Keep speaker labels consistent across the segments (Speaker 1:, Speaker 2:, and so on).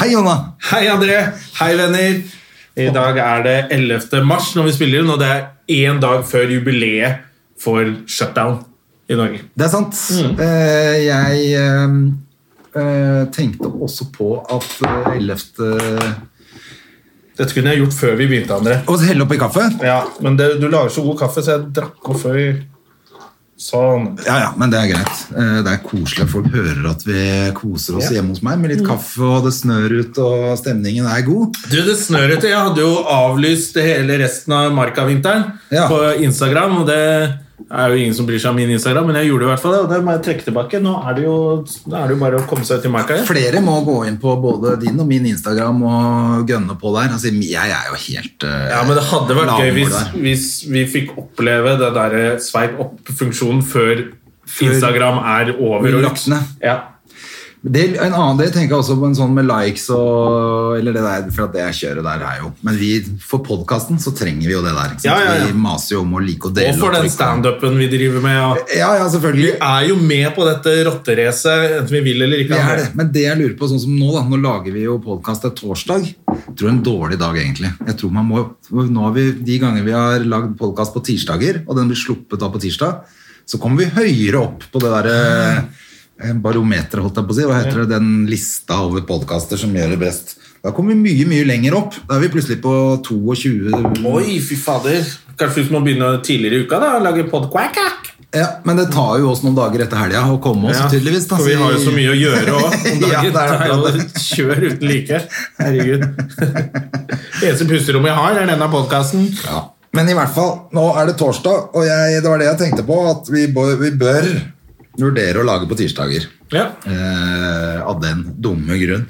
Speaker 1: Hei, Jonna!
Speaker 2: Hei, André. Hei, venner. I dag er det 11. mars når vi spiller inn, og det er én dag før jubileet for shutdown i Norge.
Speaker 1: Det er sant. Eh, jeg eh, eh, tenkte også på at eh, 11.
Speaker 2: Dette kunne jeg gjort før vi begynte, André.
Speaker 1: Å helle oppi kaffe?
Speaker 2: Ja, Men det, du lager så god kaffe, så jeg drakk opp før vi Sånn.
Speaker 1: Ja, ja, men det er greit. Eh, Det er koselig at folk hører at vi koser oss hjemme hos meg med litt kaffe, og det snør ut, og stemningen er god.
Speaker 2: Du, det snør ute. Jeg hadde jo avlyst hele resten av Markavinteren
Speaker 1: Ja.
Speaker 2: på Instagram. og det er jo ingen som bryr seg om min Instagram, men jeg gjorde det i hvert fall. Og det må jeg trekke tilbake. Nå er det jo, nå er det jo bare å komme seg ut i marka. igjen.
Speaker 1: Flere må gå inn på både din og min Instagram og gønne på der. Altså, jeg er jo helt eh,
Speaker 2: Ja, men det hadde vært
Speaker 1: lavmål
Speaker 2: gøy hvis,
Speaker 1: der.
Speaker 2: hvis vi fikk oppleve den der sveip opp-funksjonen før, Instagram er over. og-
Speaker 1: Lagt ned.
Speaker 2: Ja.
Speaker 1: det, En annen del tenker jeg også på en sånn med likes og Eller det der, for at det kjøret der er jo Men vi, for podkasten så trenger vi jo det der. Ikke sant?
Speaker 2: Ja, ja, ja.
Speaker 1: Vi maser jo om å like og dele.
Speaker 2: Og for den
Speaker 1: trykke.
Speaker 2: standupen vi driver med. Og
Speaker 1: Ja, ja,
Speaker 2: vi
Speaker 1: selvfølgelig.
Speaker 2: er jo med på dette rotteracet, enten vi vil eller ikke.
Speaker 1: Vi er det. Men det jeg lurer på, sånn som nå, da. Nå lager vi jo podkast til torsdag. Jeg tror en dårlig dag, egentlig. Jeg tror man må, nå har vi, De ganger vi har lagd podkast på tirsdager, og den blir sluppet da på tirsdag, så kommer vi høyere opp på det derre eh, barometeret, holdt jeg på å si. Hva heter det? Den lista over podkaster som gjør det best. Da kommer vi mye, mye lenger opp. Da er vi plutselig på 22
Speaker 2: Oi, fy fader. Kanskje vi må begynne tidligere i uka da, og lage podquack?
Speaker 1: ja, Men det tar jo oss noen dager etter helga å komme oss, tydeligvis. Da,
Speaker 2: for vi har jo så mye å gjøre òg.
Speaker 1: Ja, det er akkurat det.
Speaker 2: Kjør uten like. Herregud. Det eneste pusterommet jeg har, er denne podkasten.
Speaker 1: Ja. Men i hvert fall, nå er det torsdag, og jeg, det var det jeg tenkte på, at vi bør, vi bør vurdere å lage på tirsdager.
Speaker 2: Ja.
Speaker 1: Eh, av den dumme grunn.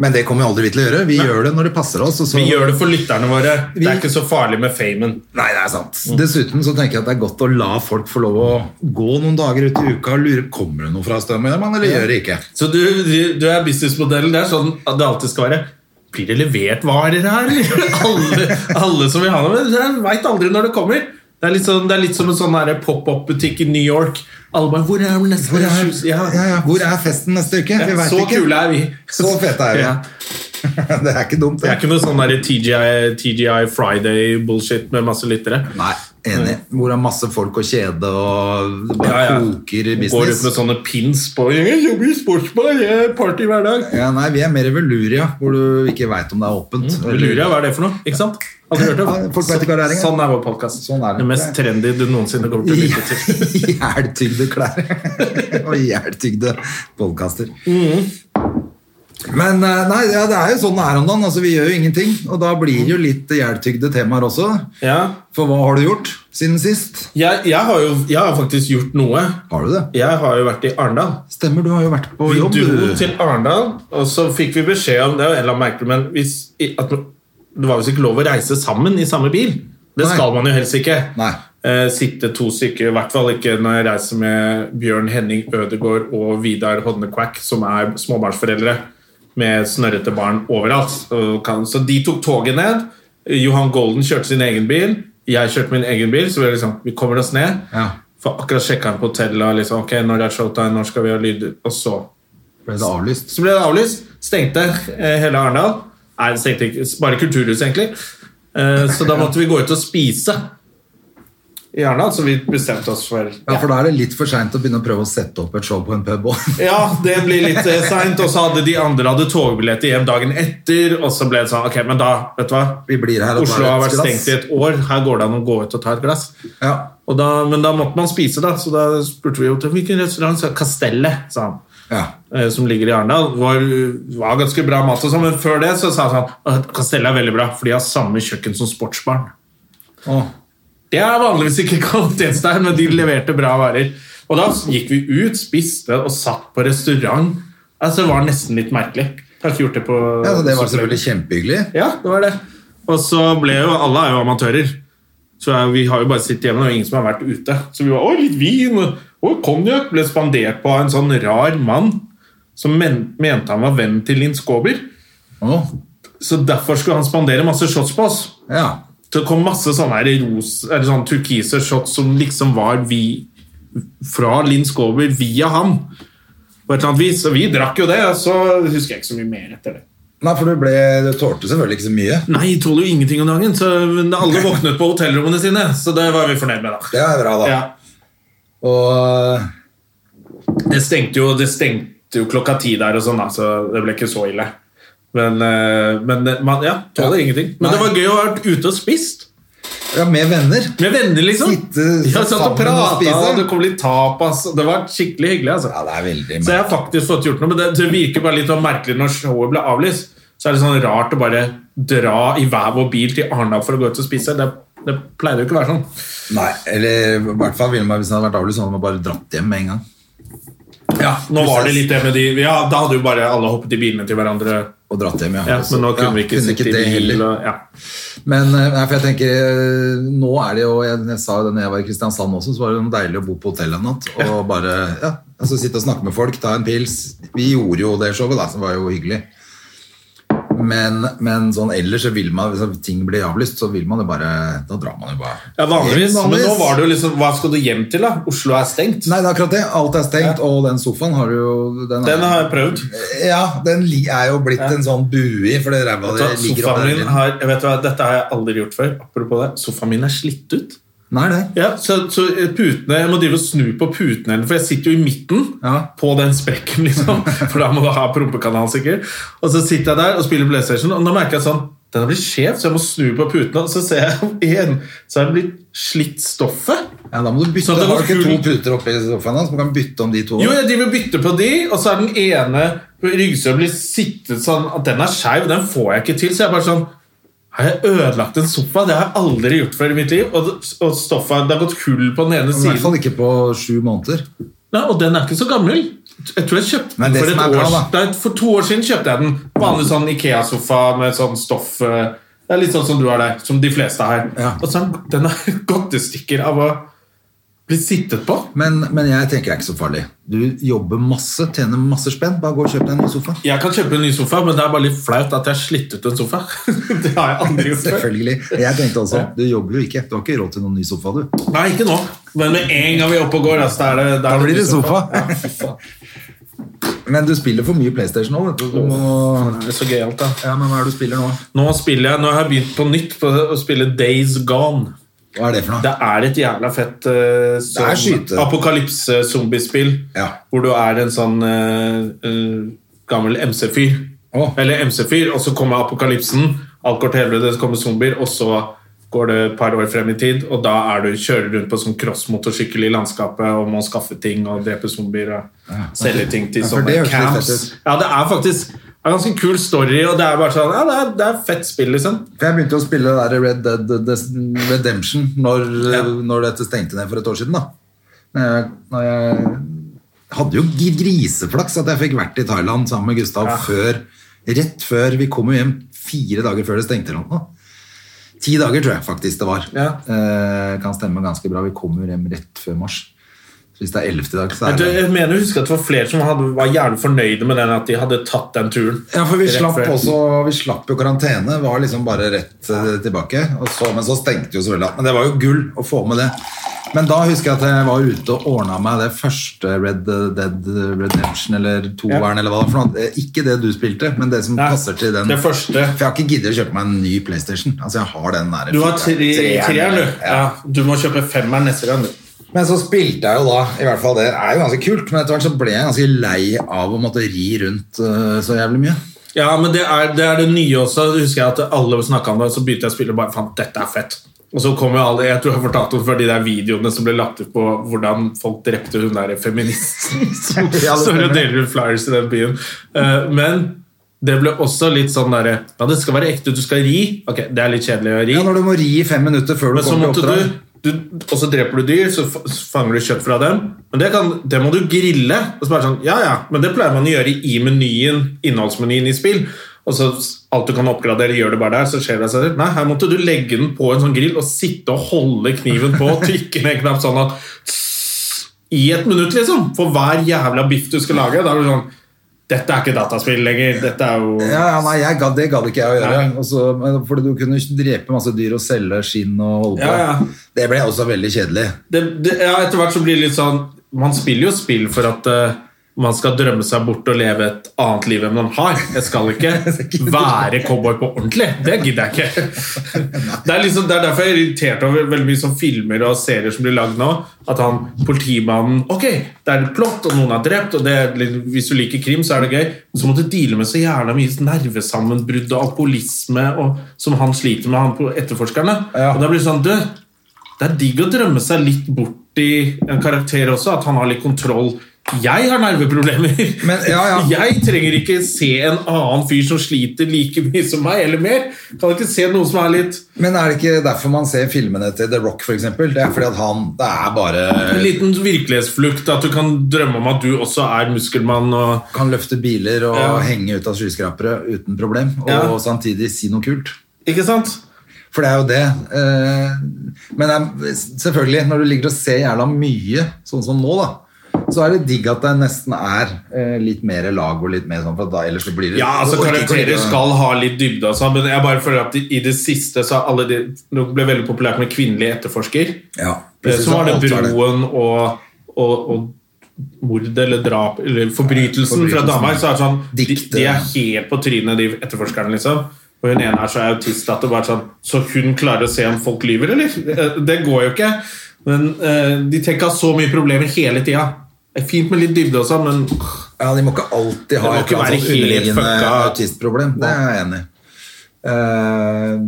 Speaker 1: Men det kommer vi aldri vi til å gjøre. Vi gjør det når det passer oss. Og så,
Speaker 2: Vi gjør det for lytterne våre. Det
Speaker 1: Vi-
Speaker 2: er ikke så farlig med famen.
Speaker 1: Nei, det er sant.
Speaker 2: Mm.
Speaker 1: Dessuten så tenker jeg at det er godt å la folk få lov å gå noen dager ut i uka og lure kommer det noe fra Stømøyermann, eller gjør det ikke.
Speaker 2: Så du, du er businessmodellen. Det er sånn at det alltid skal være Blir det levert varer her? eller?» alle, alle som vil ha noe. Jeg veit aldri når det kommer. Det er litt, sånn, det er litt som en sånn der pop-up-butikk i New York. Alle bare Hvor er den neste
Speaker 1: Hvor er,
Speaker 2: Ja,
Speaker 1: ja, ja, hvor er festen neste uke? Vi vet
Speaker 2: Så
Speaker 1: ikke.
Speaker 2: kule er vi.
Speaker 1: Så fete er vi.
Speaker 2: Ja.
Speaker 1: det er ikke dumt,
Speaker 2: Det
Speaker 1: det.
Speaker 2: er ikke noe sånn der TGI, TGI Friday-bullshit med masse lyttere.
Speaker 1: Nei, enig. Hvor det er masse folk og kjede og det bare koker i
Speaker 2: Går ut
Speaker 1: business.
Speaker 2: med sånne pins på Jeg jobber i sportsbar, jeg er party hver dag.
Speaker 1: Ja, nei, vi er mer i Veluria, hvor du ikke veit om det er åpent.
Speaker 2: Mm, Luria, hva er det for noe? Ikke sant? Aldri hørt
Speaker 1: Ja, folk vet ikke hva det er engang.
Speaker 2: Sånn er vår podcast
Speaker 1: Sånn er det.
Speaker 2: det. mest trendy du noensinne kommer til å lytte til.
Speaker 1: I Hjeltygde klær og hjeltygde podkaster.
Speaker 2: Mm.
Speaker 1: Men eh, nei, ja, det er jo sånn det er om dagen. Altså, vi gjør jo ingenting. Og da blir det jo litt hjeltygde temaer også.
Speaker 2: Ja.
Speaker 1: For hva har du gjort siden sist?
Speaker 2: Jeg, jeg har jo jeg har faktisk gjort noe.
Speaker 1: Har du det?
Speaker 2: Jeg har jo vært i Arendal.
Speaker 1: Stemmer, du har jo vært på
Speaker 2: Vi
Speaker 1: jobb.
Speaker 2: dro
Speaker 1: du.
Speaker 2: til Arendal, og så fikk vi beskjed om det, var en eller annen merkelig, men hvis, i- at det var visst ikke lov å reise sammen i samme bil. Det
Speaker 1: Nei.
Speaker 2: skal man jo helst ikke.
Speaker 1: Nei.
Speaker 2: Eh, sitte to stykker, i hvert fall ikke når jeg reiser med Bjørn Henning Ødegård og Vidar Hodnekvæk, som er småbarnsforeldre med snørrete barn overalt. Og kan- Så de tok toget ned. Johan Golden kjørte sin egen bil. Jeg kjørte min egen bil, så vi, liksom, vi kommer oss ned.
Speaker 1: Ja.
Speaker 2: For akkurat sjekka han på hotellet og liksom, ok, når er showtime, når skal vi ha lyd? Og så
Speaker 1: Ble det avlyst?
Speaker 2: så ble det avlyst. Stengte eh, hele Arendal. Nei, det stengte ikke. Bare kulturhuset, egentlig. Eh, så da måtte vi gå ut og spise i Arendal, så vi bestemte oss for
Speaker 1: Ja, for da er det litt for seint å begynne å prøve å sette opp et show på en pub òg.
Speaker 2: Ja, det blir litt eh, seint. Og så hadde de andre hadde togbilletter hjem dagen etter. Og så ble det sånn Ok, men da, vet du hva?
Speaker 1: Vi blir her og
Speaker 2: Oslo
Speaker 1: tar
Speaker 2: har
Speaker 1: et
Speaker 2: vært
Speaker 1: glass.
Speaker 2: stengt i et år. Her går det an å gå ut og ta et glass.
Speaker 1: Ja.
Speaker 2: Og da, men da måtte man spise, da. Så da spurte vi jo til hvilken restaurant. Så Castellet, sa han.
Speaker 1: Ja.
Speaker 2: eh, som ligger i Arendal, var, var ganske bra mat. og sånn, Men før det så sa han sånn at Castella er veldig bra, for de har samme kjøkken som sportsbarn.
Speaker 1: Åh.
Speaker 2: Det er vanligvis ikke kvalitetstegn, men de leverte bra varer. Og da gikk vi ut, spiste og satt på restaurant. Altså, det var nesten litt merkelig. Har ikke gjort det på
Speaker 1: Ja, så Det var selvfølgelig kjempehyggelig.
Speaker 2: Ja, det var det. Og så ble jo Alle er jo amatører. Så er- vi har jo bare sittet hjemme, og ingen som har vært ute. Så vi var Å, litt vin! og- Og konjakk! Ble spandert på av en sånn rar mann som men, mente han var venn til Linn Skåber.
Speaker 1: Å,
Speaker 2: Så derfor skulle han spandere masse shots på oss.
Speaker 1: ja.
Speaker 2: Så det kom masse sånne her ros, eller sånn turkise shots som liksom var vi fra Linn Skåber via han. På et eller annet vis. Og vi drakk jo det, og så husker jeg ikke så mye mer etter det.
Speaker 1: Nei, for du, ble, du tålte selvfølgelig ikke så mye.
Speaker 2: Nei, jeg tåler jo ingenting om dagen, så men alle våknet på hotellrommene sine. Så det var vi fornøyd med, da.
Speaker 1: Det er bra, da.
Speaker 2: Ja.
Speaker 1: Og
Speaker 2: Det stengte jo, det stengte jo klokka ti der, og sånn da, så det ble ikke så ille. Men, eh, men det- man ja, tåler
Speaker 1: Ja.
Speaker 2: ingenting. Men det
Speaker 1: Nei.
Speaker 2: var gøy å ha vært ute og spist.
Speaker 1: ja, med venner.
Speaker 2: Med venner, liksom.
Speaker 1: Sitte
Speaker 2: ja, satt og
Speaker 1: sammen og
Speaker 2: prata,
Speaker 1: spise.
Speaker 2: og det kom litt tapas. og Det var skikkelig hyggelig. altså.
Speaker 1: Ja, det er veldig
Speaker 2: Så jeg har faktisk fått gjort noe, men det, det virker bare litt sånn merkelig når showet ble avlyst. Så er det sånn rart å bare dra i hver vår bil til Arendal for å gå ut og spise. Det, det pleide jo ikke å være sånn.
Speaker 1: Nei, eller i hvert fall ville man, hvis det hadde vært avlyst, så hadde man bare dratt hjem med en gang.
Speaker 2: Ja, nå var det litt det med de Ja, da hadde jo bare alle hoppet i bilene til hverandre.
Speaker 1: Og dratt hjem, ja.
Speaker 2: Ja,
Speaker 1: Også-
Speaker 2: men nå kunne vi ikke
Speaker 1: kunne
Speaker 2: sitte i
Speaker 1: det
Speaker 2: bil.
Speaker 1: heller.
Speaker 2: Og, ja.
Speaker 1: Men eh, nei, for jeg tenker, eh, nå er det jo, jeg, jeg sa jo det når jeg var i Kristiansand også, så var det jo deilig å bo på hotell en natt, og bare, ja, altså sitte og snakke med folk, ta en pils. Vi gjorde jo det showet da, som var jo hyggelig. Men, men sånn ellers så vil man, hvis ting blir avlyst, så vil man jo bare, da drar man jo bare.
Speaker 2: ja, vanligvis.
Speaker 1: hjem,
Speaker 2: Men nå var det jo liksom Hva skal du hjem til, da? Oslo er stengt.
Speaker 1: Nei, det er akkurat det. Alt er stengt, og den sofaen har du jo... Den, er-
Speaker 2: Den har jeg prøvd.
Speaker 1: Ja, den li- er jo blitt en sånn bui, for det ræva det
Speaker 2: Så
Speaker 1: ligger
Speaker 2: Sofaen
Speaker 1: oppe
Speaker 2: min har jeg vet du hva, Dette har jeg aldri gjort før. Apropos det. Sofaen min er slitt ut.
Speaker 1: Nei, det.
Speaker 2: Ja, så, så putene, Jeg må drive og snu på putene, for jeg sitter jo i midten
Speaker 1: Ja.
Speaker 2: på den sprekken. liksom, For da må du ha prompekanal, sikkert. Og så sitter jeg der og spiller PlayStation, og nå merker jeg sånn Den har blitt skjev, så jeg må snu på putene. Og så ser jeg igjen, så har det blitt slitt stoffet.
Speaker 1: Ja, da må du bytte.
Speaker 2: Sånn at det
Speaker 1: Har du
Speaker 2: går
Speaker 1: ikke to
Speaker 2: full-
Speaker 1: puter oppe i sofaen da, så man kan bytte om de to?
Speaker 2: Jo, jeg driver og bytter på de, og så er den ene ryggsøya blir sittet sånn at den er skeiv. Den får jeg ikke til, så jeg er bare sånn har jeg ødelagt en sofa? Det har jeg aldri gjort før i mitt liv. Og, og stoffet, det har gått hull på den ene
Speaker 1: I hvert
Speaker 2: siden.
Speaker 1: fall ikke på sju måneder.
Speaker 2: Nei, og den er ikke så gammel. Jeg tror jeg kjøpte
Speaker 1: Men
Speaker 2: den
Speaker 1: det
Speaker 2: for,
Speaker 1: som
Speaker 2: et
Speaker 1: er bra,
Speaker 2: år,
Speaker 1: da.
Speaker 2: nei, for to år siden. kjøpte jeg den Vanlig sånn Ikea-sofa med sånn stoff eh, Det er Litt sånn som du har der, som de fleste her.
Speaker 1: Ja.
Speaker 2: Og så er den- den er gått i stykker av å bli sittet på.
Speaker 1: Men, men jeg tenker det er ikke så farlig. Du jobber masse, tjener masse spenn. Bare gå og kjøp deg en ny sofa.
Speaker 2: Jeg kan kjøpe en ny sofa, men det er bare litt flaut at jeg har slitt ut en sofa. det har jeg aldri gjort før.
Speaker 1: Selvfølgelig. Jeg tenkte også, du jobber jo ikke. Du har ikke råd til noen ny sofa, du.
Speaker 2: Nei, ikke nå. Men med en gang vi er oppe og går, altså, da er det
Speaker 1: Da
Speaker 2: er
Speaker 1: blir
Speaker 2: ny
Speaker 1: det sofa.
Speaker 2: Ja, fy faen.
Speaker 1: Men du spiller for mye PlayStation nå, vet du. du må...
Speaker 2: det er så gøyalt, da.
Speaker 1: Ja, men hva er det du spiller nå?
Speaker 2: Nå spiller jeg, nå har jeg begynt på nytt på å spille Days Gone.
Speaker 1: Hva er det for noe?
Speaker 2: Det er et jævla fett eh, som-
Speaker 1: Det er skyte.
Speaker 2: apokalypse-zombiespill.
Speaker 1: Ja.
Speaker 2: Hvor du er en sånn eh, eh, gammel MC-fyr.
Speaker 1: Å.
Speaker 2: Eller MC-fyr, og så kommer apokalypsen. Alt går til helvete, så kommer zombier, og så går det et par år frem i tid, og da er du, kjører du rundt på sånn crossmotorsykkel i landskapet og må skaffe ting og drepe zombier og selge ting til
Speaker 1: Ja, for
Speaker 2: sånne
Speaker 1: det høres litt fett
Speaker 2: camps.
Speaker 1: ut.
Speaker 2: Ja, det er faktisk det er en ganske kul story, og det er bare sånn Ja, det er, det er fett spill, liksom.
Speaker 1: For jeg begynte å spille det der Red Dead Des- Redemption når, når dette stengte ned for et år siden. da. Når jeg, når jeg hadde jo gri- griseflaks at jeg fikk vært i Thailand sammen med Gustav før, rett før vi kom jo hjem fire dager før det stengte. Eller noe. Ti dager tror jeg faktisk det var.
Speaker 2: Ja.
Speaker 1: Eh, kan stemme ganske bra. Vi kom jo hjem rett før mars. Så hvis det er 11 i dag, så
Speaker 2: Jeg,
Speaker 1: er det
Speaker 2: tror- jeg mener å huske at det var flere som hadde, var jævlig fornøyde med den at de hadde tatt den turen.
Speaker 1: Ja, for vi
Speaker 2: Rett
Speaker 1: slapp,
Speaker 2: før.
Speaker 1: også, vi slapp jo karantene, var liksom bare rett eh, tilbake. Og så, men så stengte jo selvfølgelig alt. Men det var jo gull å få med det. Men da husker jeg at jeg var ute og ordna meg det første Red Dead Redemption, eller toeren, eller hva det var for noe. Eh, Ikke det du spilte, men det som
Speaker 2: Nei,
Speaker 1: passer til den.
Speaker 2: det første.
Speaker 1: For jeg har ikke giddet å kjøpe meg en ny PlayStation. Altså, jeg har den der
Speaker 2: Du har tre,
Speaker 1: treeren,
Speaker 2: treeren, du.
Speaker 1: Ja.
Speaker 2: Ja, du må kjøpe femmeren neste gang. du.
Speaker 1: Men så spilte jeg jo da, i hvert fall det er jo ganske kult, men etter hvert så ble jeg ganske lei av å måtte ri rundt eh, så jævlig mye.
Speaker 2: Ja, men det er, det er det nye også. Jeg Husker jeg at alle snakka om det, og så begynte jeg å spille og bare faen, dette er fett. Og så kom jo alle Jeg tror jeg fortalte om før de der videoene som ble lagt ut på hvordan folk drepte hun der feministen som
Speaker 1: Ja, det
Speaker 2: står og
Speaker 1: stemmer.
Speaker 2: deler ut flyers i den byen. Eh, Men det ble også litt sånn derre Ja, det skal være ekte, du skal ri. Ok, det er litt kjedelig å ri.
Speaker 1: Ja, når du må ri i fem minutter før du
Speaker 2: Men så
Speaker 1: kommer
Speaker 2: måtte
Speaker 1: til oppdrag.
Speaker 2: du du, og så dreper du dyr, så f- så fanger du kjøtt fra dem. Men det, kan, det må du grille. Og så bare sånn, ja, ja, men det pleier man å gjøre i menyen, innholdsmenyen i spill. Og så s- alt du kan oppgradere, gjør du bare der, så skjer det seg selv. Nei, her måtte du legge den på en sånn grill og sitte og holde kniven på og trykke ned en knapp sånn at I et minutt, liksom. For hver jævla biff du skal lage. Da er du sånn Dette er ikke dataspill lenger. Dette er jo
Speaker 1: Ja, ja, nei, jeg gadd, Det gadd ikke jeg å gjøre.
Speaker 2: Nei.
Speaker 1: Og så- men fordi du kunne drepe masse dyr og selge skinn og holde på.
Speaker 2: Ja, ja.
Speaker 1: Det ble også veldig kjedelig.
Speaker 2: det, det, ja, etter hvert så blir det litt sånn Man spiller jo spill for at eh, man skal drømme seg bort og leve et annet liv enn man har. Jeg skal ikke være cowboy på ordentlig. Det gidder jeg ikke. Det er, liksom, det er derfor jeg er irritert over veldig mye sånn filmer og serier som blir lagd nå. At han politimannen Ok, det er et plott, og noen er drept, og det er litt, hvis du liker krim, så er det gøy. Men så må du deale med så jævla mye nervesammenbrudd og alkoholisme og, som han sliter med, han på etterforskerne.
Speaker 1: Ja.
Speaker 2: Og da blir det sånn Du, det er digg å drømme seg litt bort i en karakter også, at han har litt kontroll. Jeg har nerveproblemer.
Speaker 1: Men, ja, ja.
Speaker 2: Jeg trenger ikke se en annen fyr som sliter like mye som meg, eller mer. Kan ikke se noen som er litt
Speaker 1: Men er det ikke derfor man ser filmene til The Rock, f.eks.? Det er fordi at han Det er
Speaker 2: En
Speaker 1: bare
Speaker 2: liten virkelighetsflukt, at du kan drømme om at du også er muskelmann og
Speaker 1: Kan løfte biler og
Speaker 2: Ja.
Speaker 1: henge ut av skyskrapere uten problem, og
Speaker 2: Ja.
Speaker 1: samtidig si noe kult.
Speaker 2: Ikke sant?
Speaker 1: For det er jo det. eh, Men det er- selvfølgelig, når du ligger og ser jævla mye, sånn som nå, da, så er det digg at det nesten er eh, litt mer lag og litt mer sånn, for da ellers så blir det
Speaker 2: Ja, altså
Speaker 1: du orker ikke å ligge
Speaker 2: Karakterer
Speaker 1: og-
Speaker 2: skal ha litt dybde, altså, men jeg bare føler at i det siste så har alle de Nå ble det veldig populært med kvinnelig etterforsker.
Speaker 1: ja,
Speaker 2: Plutselig
Speaker 1: plutselig
Speaker 2: så var det
Speaker 1: alt var det.
Speaker 2: broen og, og, og mordet eller drap eller forbrytelsen fra
Speaker 1: Forbrytelsen.
Speaker 2: Danmark. Så er det sånn, de,
Speaker 1: Diktet.
Speaker 2: de er helt på trynet, de etterforskerne. liksom og hun ene er så autist at det bare er sånn Så hun klarer å se om folk lyver, eller? Eh, Det går jo ikke. Men eh, de tenker ikke ha så mye problemer hele tida. Det er Fint med litt dybde også, men
Speaker 1: Ja, de må ikke alltid ha
Speaker 2: Det må
Speaker 1: et eller annet
Speaker 2: ikke være
Speaker 1: sånt
Speaker 2: helt
Speaker 1: underliggende
Speaker 2: fucka.
Speaker 1: autistproblem. Det er jeg enig i. Eh,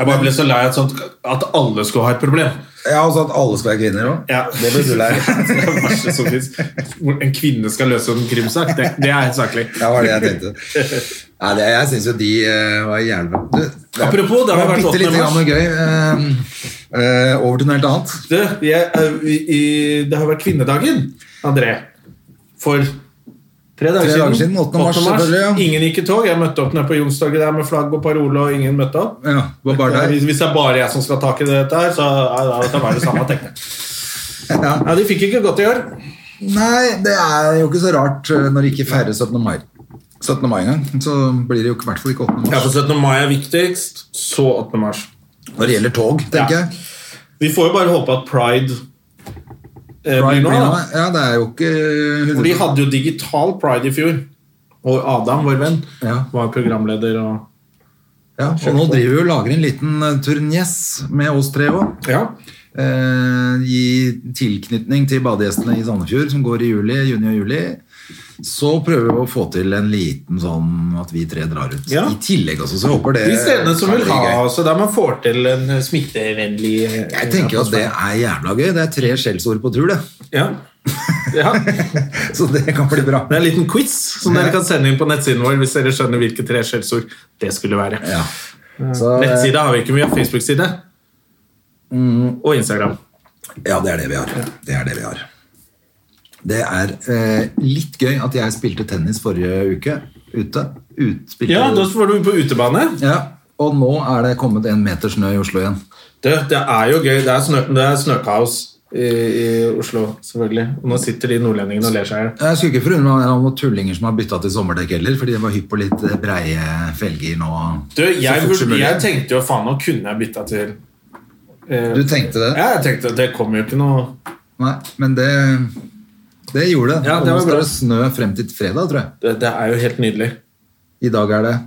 Speaker 2: jeg bare ble så lei av sånt at alle skulle ha et problem.
Speaker 1: ja, og så at alle skal være kvinner òg.
Speaker 2: Ja.
Speaker 1: Det blir du lei av.
Speaker 2: det er det verste som finnes. Hvor en kvinne skal løse en krimsak, det, det er helt saklig.
Speaker 1: Det var det jeg tenkte. Nei, det, jeg syns jo de eh, var jævlig bra. Du, det er-
Speaker 2: Apropos, det har vært
Speaker 1: bitte lite
Speaker 2: 8. mars.
Speaker 1: grann noe gøy. Eh, eh, over til noe helt annet.
Speaker 2: Du, jeg, eh, vi- i, det har vært kvinnedagen, André. For tre dager,
Speaker 1: Tre dager siden, 8. mars, selvfølgelig, ja.
Speaker 2: Ingen gikk i tog. Jeg møtte opp nede på Youngstorget der med flagg og parole, og ingen møtte opp.
Speaker 1: Ja, det var bare
Speaker 2: Hvis
Speaker 1: der.
Speaker 2: hvis det er bare jeg som skal ha tak i dette, her, så ja, det kan være det samme. tenkte jeg.
Speaker 1: Ja.
Speaker 2: Ja, de fikk ikke godt i år.
Speaker 1: Nei, det er jo ikke så rart eh, når det ikke feirer 17. mai. 17. mai engang, så blir det jo i hvert fall ikke 8.
Speaker 2: Ja,
Speaker 1: mars.
Speaker 2: for 17. mai er viktigst, så 8. mars.
Speaker 1: Når det gjelder tog, tenker
Speaker 2: Ja.
Speaker 1: jeg.
Speaker 2: Vi får jo bare håpe at pride,
Speaker 1: Pride
Speaker 2: eh, blir nå.
Speaker 1: blir
Speaker 2: da.
Speaker 1: noe. Ja, det er jo ikke
Speaker 2: For de hadde jo digital pride i fjor. Og Adam, vår venn,
Speaker 1: Ja.
Speaker 2: var programleder og
Speaker 1: ja, Og nå driver vi og lager en liten eh, turnés med oss tre òg.
Speaker 2: Ja.
Speaker 1: Eh, I tilknytning til badegjestene i Sandefjord, som går i juli, juni og juli. Så prøver vi å få til en liten sånn at vi tre drar ut.
Speaker 2: Ja.
Speaker 1: I tillegg også, så jeg håper det
Speaker 2: De stedene som
Speaker 1: kan
Speaker 2: vil
Speaker 1: bli
Speaker 2: ha
Speaker 1: Eh, gøy.
Speaker 2: altså, der man får til en eh, smittevennlig eh,
Speaker 1: Jeg tenker jo at det
Speaker 2: atmosfære.
Speaker 1: er jævla gøy. Det er tre skjellsord på tur, det.
Speaker 2: ja. ja.
Speaker 1: Så det kan bli bra.
Speaker 2: Det er en liten quiz som
Speaker 1: Ja.
Speaker 2: dere kan sende inn på nettsiden vår hvis dere skjønner hvilke tre skjellsord det skulle være.
Speaker 1: Ja. Så, eh,
Speaker 2: Nettside har vi ikke, men vi har Facebook-side.
Speaker 1: Mm.
Speaker 2: Og Instagram.
Speaker 1: Ja, det er det vi har. Det er det vi har. Det er eh, litt gøy at jeg spilte tennis forrige uke ute. Ut, spilte,
Speaker 2: Ja, da var du på utebane.
Speaker 1: Ja, og nå er det kommet en meter snø i Oslo igjen.
Speaker 2: Det, det er jo gøy. Det er, snø, det er snøkaos i, i Oslo, selvfølgelig. Og nå sitter de nordlendingene og ler seg i hjel.
Speaker 1: Jeg skulle ikke forundre meg om det er noen tullinger som har bytta til sommerdekk heller, fordi det var hypp på litt eh, breie felger nå.
Speaker 2: Du, jeg,
Speaker 1: så fort som
Speaker 2: burde-
Speaker 1: mulig.
Speaker 2: jeg tenkte jo faen, nå kunne jeg bytta til eh,
Speaker 1: Du tenkte det?
Speaker 2: Ja, jeg tenkte det kommer jo ikke noe
Speaker 1: Nei, men det, det gjorde det.
Speaker 2: Ja,
Speaker 1: Og
Speaker 2: det
Speaker 1: nå
Speaker 2: var
Speaker 1: skal
Speaker 2: bra.
Speaker 1: det snø frem til fredag, tror jeg.
Speaker 2: Det, det er jo helt nydelig.
Speaker 1: I dag er det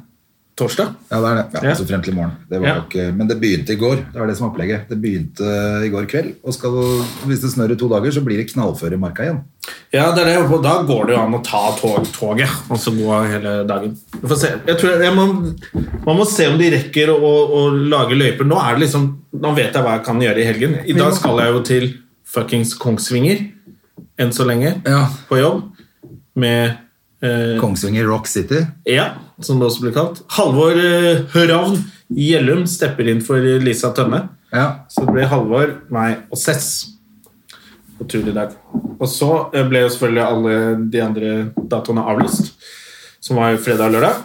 Speaker 2: Torsdag?
Speaker 1: Ja, det er det. Ja,
Speaker 2: Ja.
Speaker 1: Så frem til i morgen. Det var
Speaker 2: Ja.
Speaker 1: jo ikke, men det begynte i går. Det var det som er opplegget. Det begynte i går kveld. Og skal, hvis det snør i to dager, så blir det knallføre i marka igjen.
Speaker 2: Ja, det er det jeg håper på. Da går det jo an å ta tog, toget og så gå hele dagen. Vi får se. Jeg tror jeg, jeg må, man må se om de rekker å, å lage løyper. Nå er det liksom Nå vet jeg hva jeg kan gjøre i helgen. I dag skal jeg jo til fuckings Kongsvinger enn så lenge.
Speaker 1: Ja.
Speaker 2: På jobb. Med eh,
Speaker 1: Kongsvinger Rock City.
Speaker 2: Ja, som det også blir kalt. Halvor eh, Høravn Gjellum stepper inn for Lisa Tønne.
Speaker 1: Ja.
Speaker 2: Så det ble Halvor, meg og Sess på tur i dag. Og så eh, ble jo selvfølgelig alle de andre datoene avlyst, som var fredag og lørdag.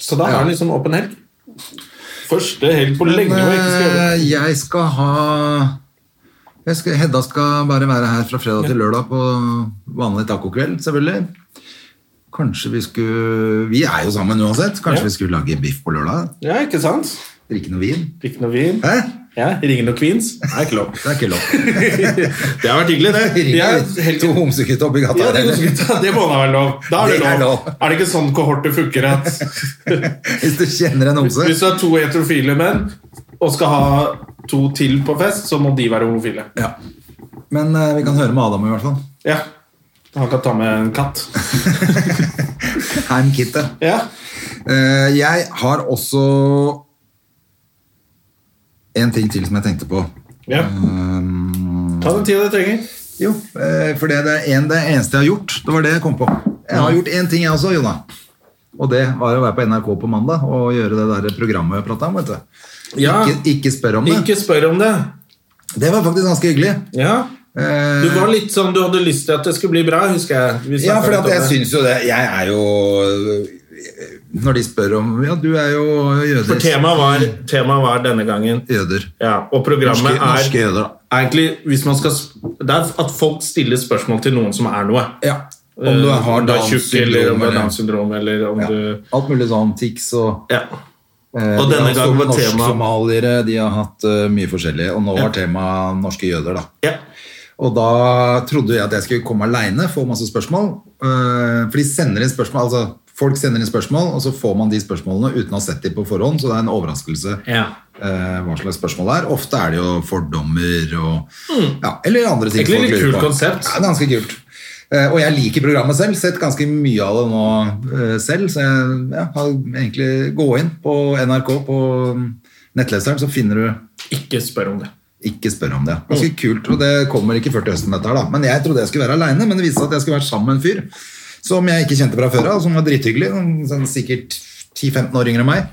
Speaker 2: Så da
Speaker 1: Ja.
Speaker 2: er det liksom åpen helg. Første helg på
Speaker 1: Men
Speaker 2: lenge hvor jeg ikke skal jobbe.
Speaker 1: eh, jeg skal ha jeg skal, Hedda skal bare være her fra fredag til lørdag på vanlig tacokveld, selvfølgelig. Kanskje vi skulle Vi er jo sammen uansett. Kanskje
Speaker 2: Ja.
Speaker 1: vi skulle lage biff på lørdag?
Speaker 2: Ja, ikke sant?
Speaker 1: Drikke noe vin?
Speaker 2: Drikke noe vin.
Speaker 1: Hæ?
Speaker 2: Ja, Ringe noen queens. Det er ikke lov.
Speaker 1: Det er ikke lov.
Speaker 2: det har vært hyggelig, det. Jeg-
Speaker 1: Ringe to homsegutter oppi gata.
Speaker 2: Ja, det,
Speaker 1: eller?
Speaker 2: det må da være lov. Da er det,
Speaker 1: Det er
Speaker 2: lov.
Speaker 1: lov.
Speaker 2: Er det ikke sånn kohortet funker at
Speaker 1: Hvis du kjenner en homse.
Speaker 2: Hvis du har to heterofile menn og skal ha to til på fest, så må de være homofile.
Speaker 1: Ja. Men eh, vi kan høre med Adam i hvert fall.
Speaker 2: Ja. Han kan ta med en katt.
Speaker 1: Heim Kitty.
Speaker 2: Ja.
Speaker 1: Eh, jeg har også en ting til som jeg tenkte på.
Speaker 2: ja.
Speaker 1: Um,
Speaker 2: Ta den tida du trenger.
Speaker 1: jo, eh, for det, er en, det eneste jeg har gjort, det var det jeg kom på. Jeg har gjort én ting jeg også, Jonna. Og det var å være på NRK på mandag og gjøre det der programmet jeg prata om. vet du.
Speaker 2: Ja.
Speaker 1: Ikke, ikke spør om det.
Speaker 2: Ikke spør om det.
Speaker 1: Det var faktisk ganske hyggelig.
Speaker 2: Ja.
Speaker 1: Eh,
Speaker 2: Du var litt sånn du hadde lyst til at det skulle bli bra, husker jeg. Vi
Speaker 1: Ja,
Speaker 2: snakket
Speaker 1: for
Speaker 2: litt om
Speaker 1: jeg
Speaker 2: det.
Speaker 1: syns jo det. Jeg er jo Når de spør om Ja, du er jo jøder.
Speaker 2: For temaet var, temaet var denne gangen.
Speaker 1: Jøder.
Speaker 2: Ja, og programmet
Speaker 1: Norske,
Speaker 2: er
Speaker 1: norske jøder, da.
Speaker 2: er egentlig hvis man skal, sp- Det er at folk stiller spørsmål til noen som er noe.
Speaker 1: Ja. Om du
Speaker 2: Eh,
Speaker 1: har Downs
Speaker 2: tjukk, eller
Speaker 1: syndrom
Speaker 2: om du har
Speaker 1: eller
Speaker 2: Downs syndrom, eller om
Speaker 1: ja.
Speaker 2: du
Speaker 1: Alt mulig sånn. Tics og
Speaker 2: Ja.
Speaker 1: eh,
Speaker 2: Og
Speaker 1: de har
Speaker 2: denne
Speaker 1: også
Speaker 2: gangen var
Speaker 1: norsk
Speaker 2: tema-
Speaker 1: Somaliere, de har hatt eh, mye forskjellig. Og nå var temaet norske jøder, da.
Speaker 2: ja.
Speaker 1: Og da trodde jeg at jeg skulle komme aleine, få masse spørsmål. Eh, For de sender inn spørsmål, altså folk sender inn spørsmål, og så får man de spørsmålene uten å ha sett dem på forhånd, så det er en overraskelse
Speaker 2: Ja.
Speaker 1: eh, hva slags spørsmål det er. Ofte er det jo fordommer og ja, eller andre ting folk
Speaker 2: Egentlig Hmm. litt
Speaker 1: lurer
Speaker 2: kult
Speaker 1: på.
Speaker 2: konsept.
Speaker 1: Ja, ganske kult. Eh, Og jeg liker programmet selv, sett ganske mye av det nå eh, selv, så jeg ja, har egentlig gå inn på NRK på mm, nettleseren, så finner du
Speaker 2: Ikke spør om det.
Speaker 1: ikke spør om det. Ganske kult, og det kommer ikke før til høsten dette her da. Men jeg trodde jeg skulle være alene, men det viste seg at jeg skulle være sammen med en fyr som jeg ikke kjente fra før av, som var drithyggelig, sånn- sånn sikkert 10-15 år yngre enn meg.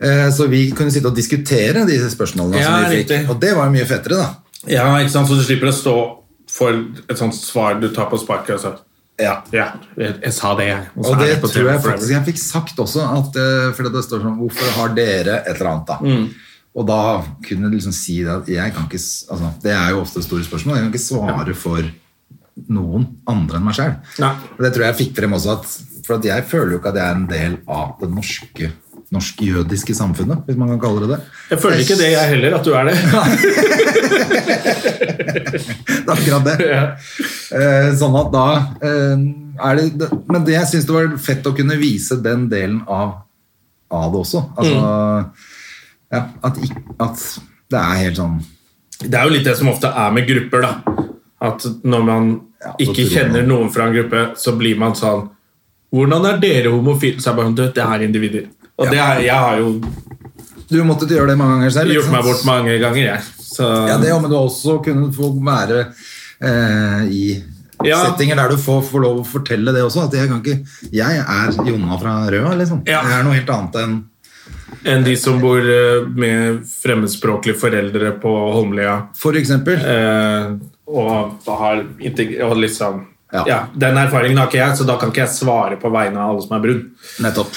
Speaker 1: Eh, Så vi kunne sitte og diskutere de spørsmålene
Speaker 2: Ja,
Speaker 1: som vi fikk.
Speaker 2: riktig.
Speaker 1: Og det var jo mye fettere da.
Speaker 2: Ja, ikke sant? Så du slipper å stå for et sånt svar du tar på sparket. Og så.
Speaker 1: Ja.
Speaker 2: Ja, jeg, jeg sa det, jeg. så
Speaker 1: Og
Speaker 2: er
Speaker 1: det
Speaker 2: på
Speaker 1: tror
Speaker 2: TV
Speaker 1: jeg
Speaker 2: forever.
Speaker 1: faktisk jeg fikk sagt også, at, eh, for det står sånn, hvorfor har dere et eller annet da?
Speaker 2: Mm.
Speaker 1: Og da kunne jeg liksom si det at jeg kan ikke, s- altså, det er jo ofte store spørsmål, jeg kan ikke svare for noen andre enn meg selv.
Speaker 2: Nei.
Speaker 1: Og Det tror jeg jeg fikk frem også, at, for at jeg føler jo ikke at jeg er en del av det norske, norske jødiske samfunnet, hvis man kan kalle det det.
Speaker 2: Jeg føler ikke det, jeg heller, at du er det.
Speaker 1: Det er akkurat det. Eh, Sånn at da eh, er det- det Men det jeg syns det var fett å kunne vise den delen av, av det også. Altså
Speaker 2: Mm.
Speaker 1: ja, at, ikk- at det er helt sånn
Speaker 2: Det er jo litt det som ofte er med grupper, da. At når man
Speaker 1: Ja, så
Speaker 2: ikke
Speaker 1: tror man-
Speaker 2: kjenner noen fra en gruppe, så blir man sånn Hvordan er dere homofile? Så er jeg bare sånn, du, det er individer. Og det er, jeg har jo
Speaker 1: Du måtte gjøre det mange ganger selv. ikke
Speaker 2: gjort meg
Speaker 1: sant?
Speaker 2: bort mange ganger, jeg. Så
Speaker 1: Ja, det, ja, men du har også kunnet få være eh, i
Speaker 2: Ja.
Speaker 1: settinger der du får, får lov å fortelle det også. At jeg, kan ikke, jeg er Jonna fra Røa, liksom.
Speaker 2: Ja.
Speaker 1: Jeg er noe helt annet enn
Speaker 2: enn de som bor eh, med fremmedspråklige foreldre på Holmlia.
Speaker 1: For eksempel.
Speaker 2: Eh, og har integ- og liksom ja.
Speaker 1: Ja.
Speaker 2: Den erfaringen har ikke jeg, så da kan ikke jeg svare på vegne av alle som er brun.
Speaker 1: Nettopp.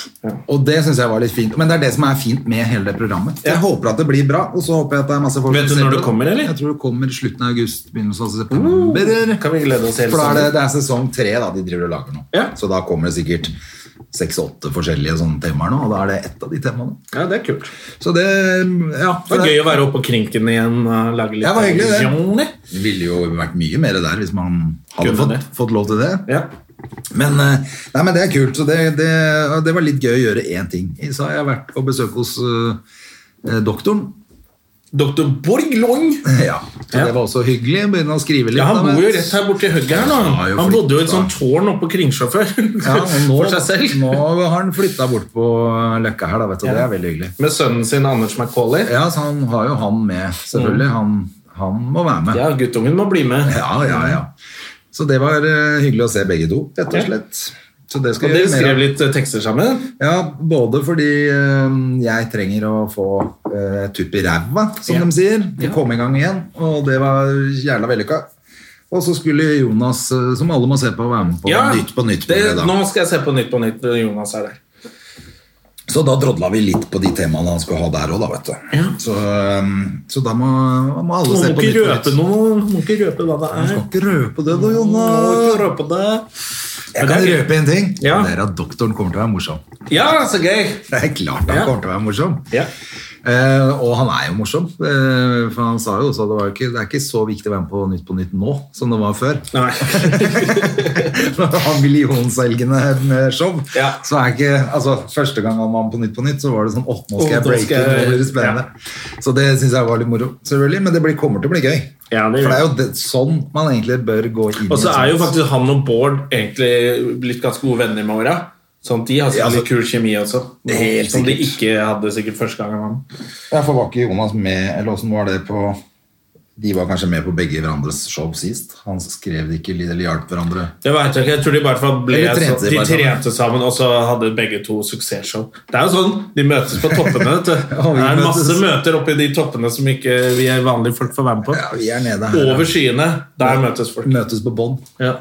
Speaker 1: Og det syns jeg var litt fint. Men det er det som er fint med hele det programmet. Jeg
Speaker 2: Ja.
Speaker 1: håper at det blir bra, og så håper jeg at det er masse folk
Speaker 2: Vet
Speaker 1: som
Speaker 2: du
Speaker 1: ser
Speaker 2: når
Speaker 1: på
Speaker 2: det kommer, eller? Uh,
Speaker 1: Jeg tror det kommer i slutten av august, begynnelsen av september.
Speaker 2: Kan vi glede oss hele
Speaker 1: For da er det,
Speaker 2: sommeren?
Speaker 1: det er sesong tre da, de driver og lager nå.
Speaker 2: Ja.
Speaker 1: Så da kommer det sikkert seks-åtte forskjellige sånne temaer nå, og da er det ett av de temaene.
Speaker 2: Ja, det er kult.
Speaker 1: Så det Ja.
Speaker 2: Det var gøy å være oppe på krinken igjen og lage litt
Speaker 1: Ja, det var hyggelig, det.
Speaker 2: Johnny.
Speaker 1: Det ville jo vært mye mer der hvis man hadde
Speaker 2: Kunne
Speaker 1: fått,
Speaker 2: det.
Speaker 1: fått lov til det.
Speaker 2: Ja.
Speaker 1: Men, eh, nei, men det er kult. Så det, det, det var litt gøy å gjøre én ting. Så har jeg vært på besøk hos eh, doktoren.
Speaker 2: Dr. Borg Long.
Speaker 1: Ja, så
Speaker 2: Ja.
Speaker 1: det var også hyggelig. Begynne å skrive litt.
Speaker 2: Ja, han
Speaker 1: da, men-
Speaker 2: bor jo rett her borti hugget her nå.
Speaker 1: Ja, jo, fordi-
Speaker 2: Han bodde jo i et sånt tårn oppe på Kringsjå før.
Speaker 1: Ja, og nå,
Speaker 2: For seg selv.
Speaker 1: nå har han flytta bort på Løkka her, da, vet du. Det er veldig hyggelig.
Speaker 2: Med sønnen sin Anders McCauley.
Speaker 1: Ja, så han har jo han med, selvfølgelig. Han, han må være med.
Speaker 2: Mm. Ja, guttungen må bli med.
Speaker 1: ja, ja. ja. Så det var eh, hyggelig å se begge to, rett og slett. Så det
Speaker 2: Og
Speaker 1: skal
Speaker 2: dere
Speaker 1: jeg gjøre
Speaker 2: skrev
Speaker 1: mer av.
Speaker 2: litt eh, tekster sammen.
Speaker 1: Ja, både fordi eh, jeg trenger å få eh, et tupp i ræva, som
Speaker 2: Ja.
Speaker 1: de sier. For
Speaker 2: Ja.
Speaker 1: å komme i gang igjen. Og det var jævla vellykka. Og så skulle Jonas, eh, som alle må se på, være med på Nytt på Nytt. på
Speaker 2: det,
Speaker 1: fredag.
Speaker 2: nå skal jeg se på Nytt på Nytt. når Jonas er der.
Speaker 1: Så da drodla vi litt på de temaene han skulle ha der òg, da, vet du. Så, um, så da må, må alle
Speaker 2: Må
Speaker 1: se på Nytt
Speaker 2: ikke
Speaker 1: på
Speaker 2: røpe
Speaker 1: Nytt.
Speaker 2: noe. Må ikke røpe hva det
Speaker 1: Du
Speaker 2: er.
Speaker 1: skal ikke røpe det, da,
Speaker 2: Må ikke
Speaker 1: Jonas.
Speaker 2: røpe det.
Speaker 1: Jeg kan røpe en ting.
Speaker 2: Ja.
Speaker 1: Det er at doktoren kommer til å være morsom.
Speaker 2: Ja, så gøy!
Speaker 1: Det er klart han
Speaker 2: Ja.
Speaker 1: kommer til å være morsom.
Speaker 2: Ja.
Speaker 1: Eh, og han er jo morsom. Eh, for han sa jo også at det, var ikke, det er ikke så viktig å være med på Nytt på Nytt nå som det var før.
Speaker 2: Nei.
Speaker 1: Når han har millionselgende med show,
Speaker 2: Ja.
Speaker 1: så er ikke altså, Første gang han var med på Nytt på Nytt, så var det sånn Åh, nå skal
Speaker 2: Åh,
Speaker 1: jeg
Speaker 2: nå
Speaker 1: breake,
Speaker 2: skal jeg-
Speaker 1: nå blir det spennende. Så det syns jeg var litt moro, selvfølgelig. Men det blir, kommer til å bli gøy.
Speaker 2: Ja, det gjør
Speaker 1: For det er jo det, sånn man egentlig bør gå inn
Speaker 2: Og så
Speaker 1: et
Speaker 2: er jo
Speaker 1: sånt.
Speaker 2: faktisk han og Bård egentlig blitt ganske gode venner med åra. Sånn at de har sikkert
Speaker 1: Ja, altså-
Speaker 2: litt kul kjemi også.
Speaker 1: Helt
Speaker 2: som de
Speaker 1: sikkert.
Speaker 2: ikke hadde sikkert første gangen. han-
Speaker 1: Ja, for var ikke Jonas med, eller åssen var det på De var kanskje med på begge hverandres show sist? Han skrev det ikke, eller hjalp hverandre?
Speaker 2: Det vet jeg ikke. Jeg tror de bare for ble
Speaker 1: Eller trente
Speaker 2: så, De
Speaker 1: bare sammen.
Speaker 2: trente sammen, og så hadde begge to suksessshow. Det er jo sånn. De møtes på toppene. vet du.
Speaker 1: Ja, vi
Speaker 2: det er
Speaker 1: møtes.
Speaker 2: masse møter oppi de toppene som ikke vi er vanlige folk får være med på.
Speaker 1: Ja, vi er nede her.
Speaker 2: Over skyene. Der møtes folk.
Speaker 1: Møtes på bånd.
Speaker 2: Ja.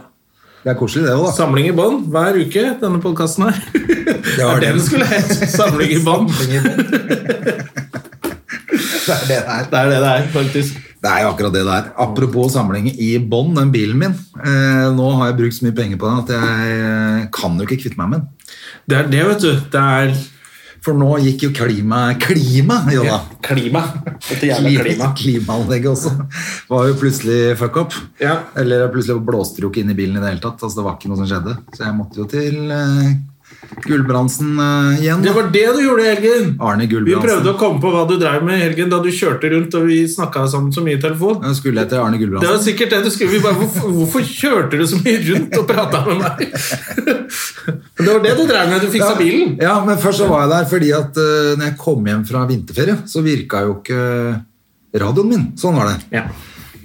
Speaker 1: Det er koselig, det òg, da.
Speaker 2: Samling i bånd hver uke, denne podkasten her. Det
Speaker 1: var
Speaker 2: var det
Speaker 1: den.
Speaker 2: den skulle hett. Samling i bånd.
Speaker 1: Samling i bånd. Det er det det er.
Speaker 2: Det er det det er, faktisk.
Speaker 1: Det er jo akkurat det det er. Apropos samling i bånd, den bilen min. Eh, nå har jeg brukt så mye penger på den at jeg eh, kan jo ikke kvitte meg med den.
Speaker 2: Det er det, vet du. Det er
Speaker 1: For nå gikk jo klima Klima, jo da.
Speaker 2: klima. Dette jævla klima.
Speaker 1: Klima. Klimaanlegget også var jo plutselig fuck up.
Speaker 2: Ja.
Speaker 1: Eller plutselig blåste det jo ikke inn i bilen i det hele tatt. Altså, det var ikke noe som skjedde. Så jeg måtte jo til eh, Gulbrandsen eh, igjen.
Speaker 2: Det
Speaker 1: Da.
Speaker 2: var det du gjorde i helgen.
Speaker 1: Arne
Speaker 2: Vi
Speaker 1: Gulbrandsen.
Speaker 2: prøvde å komme på hva du drev med i helgen da du kjørte rundt og vi snakka sammen så mye i telefon.
Speaker 1: Jeg skulle etter Arne
Speaker 2: Det
Speaker 1: Gulbrandsen.
Speaker 2: var sikkert det du skulle vi bare, hvorfor, hvorfor kjørte du så mye rundt og prata med meg? Men Det var det du drev med. Du fiksa bilen.
Speaker 1: Ja, men først så var jeg der fordi at eh, når jeg kom hjem fra vinterferie, så virka jo ikke radioen min. Sånn var det.
Speaker 2: Ja.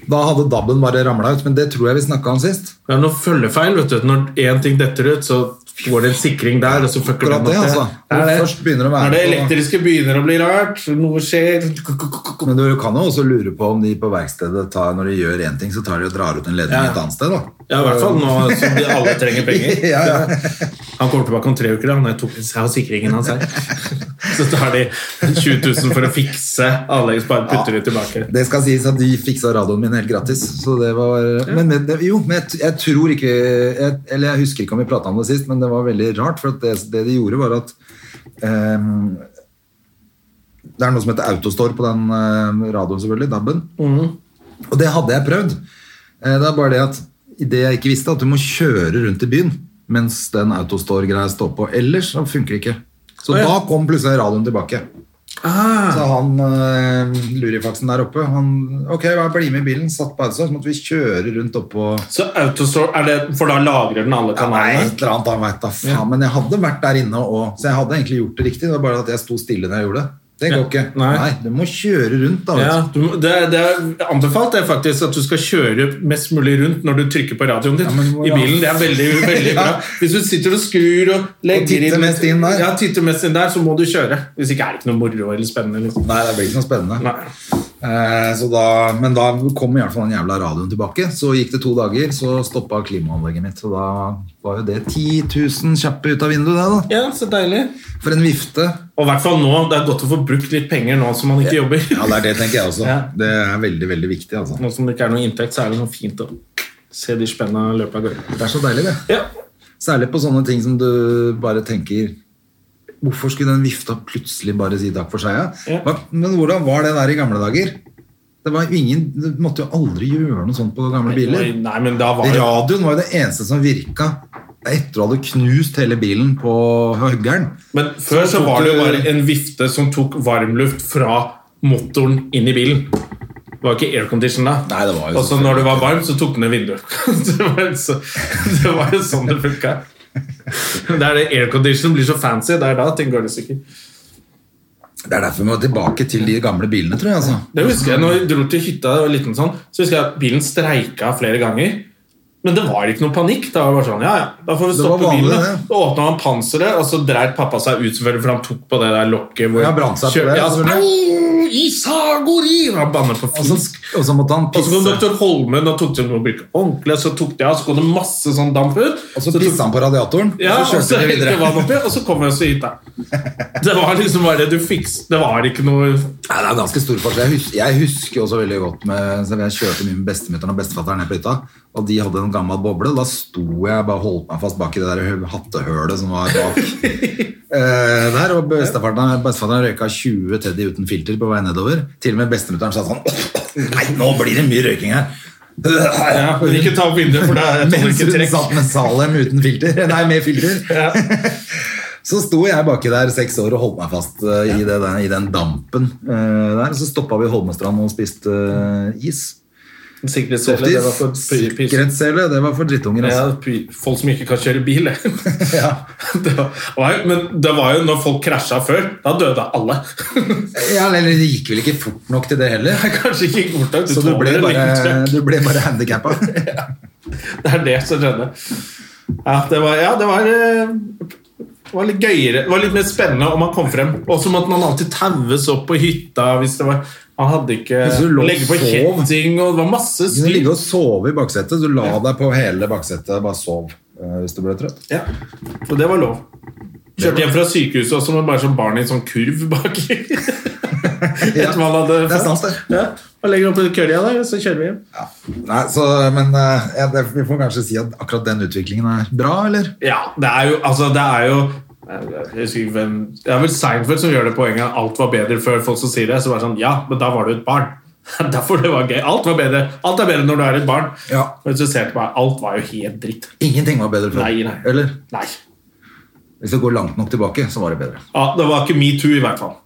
Speaker 1: Da hadde DAB-en bare ramla ut, men det tror jeg vi snakka om sist.
Speaker 2: Det er noe følgefeil. vet du Når én ting detter ut, så går det en sikring der, og så fucker
Speaker 1: Akkurat
Speaker 2: den opp
Speaker 1: det, altså.
Speaker 2: Det er
Speaker 1: Når
Speaker 2: det.
Speaker 1: først begynner det å være
Speaker 2: Når det
Speaker 1: på-
Speaker 2: elektriske begynner å bli rart, noe skjer
Speaker 1: Men du kan jo også lure på om de på verkstedet tar, når de gjør én ting, så tar de og drar ut en ledning
Speaker 2: Ja.
Speaker 1: et annet sted, da.
Speaker 2: Ja, i hvert fall nå som de alle trenger penger.
Speaker 1: Ja, ja.
Speaker 2: Han kommer tilbake om tre uker, da, når jeg tok med seg av sikringen hans her. Så tar de 20 000 for å fikse anlegget, så bare putter de tilbake.
Speaker 1: Det skal sies at de fiksa radioen min helt gratis. Så det var, men, men det, jo, men jeg, t- jeg tror ikke jeg, Eller jeg husker ikke om vi prata om det sist, men det var veldig rart. For at det, det de gjorde, var at ehm, Det er noe som heter autostore på den eh, radioen, selvfølgelig. DAB-en.
Speaker 2: Mhm.
Speaker 1: Og det hadde jeg prøvd. Eh, det er bare det at det jeg ikke visste, at du må kjøre rundt i byen mens den autostore-greia står på. Ellers så funker det ikke. Så
Speaker 2: Å, ja.
Speaker 1: da kom plutselig radioen tilbake. Så han eh, lurifaksen der oppe han, Ok, jeg blir med i bilen, satt på autostore, så måtte vi kjøre rundt oppå
Speaker 2: Så Autostore, er det, for da lagrer den alle
Speaker 1: ja, nei,
Speaker 2: kanalene?
Speaker 1: et eller annet, han vet da faen. Men jeg hadde vært der inne, og, så jeg hadde egentlig gjort det riktig. Det var bare at jeg sto stille når jeg gjorde det. Det går
Speaker 2: Ja.
Speaker 1: ikke.
Speaker 2: Nei.
Speaker 1: du må kjøre rundt, da. vet
Speaker 2: Ja,
Speaker 1: du.
Speaker 2: du, må- det, det er anbefalt det faktisk at du skal kjøre mest mulig rundt når du trykker på radioen din
Speaker 1: men du må
Speaker 2: i
Speaker 1: jo-
Speaker 2: bilen. Det er veldig, veldig bra. Hvis du sitter og skrur og legger
Speaker 1: Og titter
Speaker 2: inn-
Speaker 1: mest inn der.
Speaker 2: Ja, titter mest inn der, så må du kjøre. Hvis ikke er det ikke noe moro eller spennende. Liksom.
Speaker 1: Nei, det blir ikke noe spennende.
Speaker 2: Nei.
Speaker 1: Eh, så da, men da kom i hvert fall den jævla radioen tilbake. Så gikk det to dager, så stoppa klimaanlegget mitt. Så da var jo det 10 000 kjappe ut av vinduet, det,
Speaker 2: Ja, så deilig.
Speaker 1: da. For en vifte.
Speaker 2: Og i hvert fall nå, det er godt å få brukt litt penger nå som man ikke jobber.
Speaker 1: Ja, det er det, tenker jeg også.
Speaker 2: Ja.
Speaker 1: Det er veldig, veldig viktig, altså.
Speaker 2: Nå som det ikke er noe inntekt, så er det noe fint å se de spenna løpe av gårde.
Speaker 1: Det er så deilig, det.
Speaker 2: Ja.
Speaker 1: Særlig på sånne ting som du bare tenker Hvorfor skulle den vifta plutselig bare si takk for seg? Ja?
Speaker 2: Ja.
Speaker 1: Hva- Men hvordan var det der i gamle dager? Det var jo ingen, Du måtte jo aldri gjøre noe sånt på gamle biler.
Speaker 2: Oi, Nei, men da var det
Speaker 1: Radioen var jo det eneste som virka etter du hadde knust hele bilen på høggeren.
Speaker 2: Men før så
Speaker 1: tok
Speaker 2: var det jo
Speaker 1: du-
Speaker 2: bare en vifte som tok varmluft fra motoren inn i bilen. Det var ikke aircondition da.
Speaker 1: Nei, det var jo
Speaker 2: Og så
Speaker 1: sånn.
Speaker 2: når det var varmt, så tok den ned vinduet. det, var så, det var jo sånn det funka. Det er det aircondition blir så fancy. Det er da ting går det sikkert.
Speaker 1: Det er derfor vi må tilbake til de gamle bilene, tror jeg. altså.
Speaker 2: Det husker jeg, når vi dro til hytta og var liten sånn, så husker jeg at bilen streika flere ganger. Men det var ikke noe panikk. Det var bare sånn, ja, ja, da får vi
Speaker 1: Det var
Speaker 2: stoppe
Speaker 1: vanlig,
Speaker 2: bilen. da.
Speaker 1: det.
Speaker 2: Da åpna han panseret, og så dreit pappa seg ut, selvfølgelig, for han tok på det der lokket. Hvor
Speaker 1: Ja, brant seg på det,
Speaker 2: Ja, så, «Au, Isagori! Han banner på
Speaker 1: Og så,
Speaker 2: finsk.
Speaker 1: og så måtte han
Speaker 2: Og så kom
Speaker 1: pisse.
Speaker 2: doktor Holmen og tok til å bruke håndkle, og så tok det av, så kom det masse sånn damp ut.
Speaker 1: Og så
Speaker 2: tok-
Speaker 1: pissa han på radiatoren,
Speaker 2: ja,
Speaker 1: og så
Speaker 2: og så
Speaker 1: kjørte de
Speaker 2: helte
Speaker 1: videre.
Speaker 2: vann oppi, og så kom jeg så hit, da. Det var liksom bare du fiks... Det var ikke noe
Speaker 1: Nei, det er ganske stor forskjell. Jeg husker, jeg husker også veldig godt med, så Jeg kjørte mye med bestemutteren og bestefatteren ned på hytta, og de hadde en gammel boble. Da sto jeg bare holdt meg fast bak i det der hø- hattehølet som var bak eh, der. Og bestefatteren bestefatteren røyka 20 Teddy uten filter på vei nedover. Til og med bestemutteren sa sånn Nei, nå blir det mye røyking her.
Speaker 2: ja, men Ikke ta opp vinduet, for det er jeg tåler
Speaker 1: Mens
Speaker 2: ikke
Speaker 1: hun
Speaker 2: trekk.
Speaker 1: satt med Salem uten filter, nei, med filter,
Speaker 2: Ja.
Speaker 1: så sto jeg baki der seks år og holdt meg fast eh, i, det, der- i den dampen eh, der. Så stoppa vi i Holmestrand og spiste eh, is.
Speaker 2: Sikkerhetscelle, det var for py- pys.
Speaker 1: Sikkerhetssele, det var for drittunger,
Speaker 2: Ja,
Speaker 1: altså.
Speaker 2: py- folk som ikke kan kjøre bil, det.
Speaker 1: Ja.
Speaker 2: Det var, jo- men det var jo når folk krasja før. Da døde alle.
Speaker 1: Ja, eller det gikk vel ikke fort nok til det heller.
Speaker 2: Kanskje ikke i fort nok. Du
Speaker 1: Så du
Speaker 2: tåler
Speaker 1: ble
Speaker 2: en liten
Speaker 1: bare,
Speaker 2: trøkk.
Speaker 1: du ble bare handikappa.
Speaker 2: Det er det som skjedde. Ja, det var, ja, det var, eh, det var litt gøyere. Det var litt mer spennende om han kom frem. Og så måtte man alltid taues opp på hytta hvis det var Han hadde ikke
Speaker 1: Hvis du lå og
Speaker 2: legge på
Speaker 1: sov.
Speaker 2: kjetting, og det var masse
Speaker 1: Du kunne
Speaker 2: styr.
Speaker 1: ligge og sove i baksetet. så Du la deg på hele baksetet og bare sov eh, hvis du ble trøtt.
Speaker 2: Ja, så det var lov. Kjørte hjem fra sykehuset og så var det bare sånn barn i en sånn kurv baki.
Speaker 1: Ja,
Speaker 2: Etter man hadde
Speaker 1: det er sant, det.
Speaker 2: Ja, og legger opp i kølja der, så kjører vi hjem.
Speaker 1: Nei, så, men eh, ja, det, vi får kanskje si at akkurat den utviklingen er bra, eller?
Speaker 2: Ja, det er jo, altså, det er jo jeg husker ikke hvem Det er vel Seinfeld som gjør det poenget at alt var bedre før folk som sier det. Så bare sånn, ja, men da var du et barn. Derfor det var gøy. Alt var bedre. Alt er bedre når du er et barn.
Speaker 1: Ja.
Speaker 2: Men så ser jeg tilbake, alt var jo helt dritt.
Speaker 1: Ingenting var bedre før.
Speaker 2: Nei, nei.
Speaker 1: Eller?
Speaker 2: Nei.
Speaker 1: Hvis du går langt nok tilbake, så var det bedre.
Speaker 2: Ja, det var ikke metoo, i hvert fall.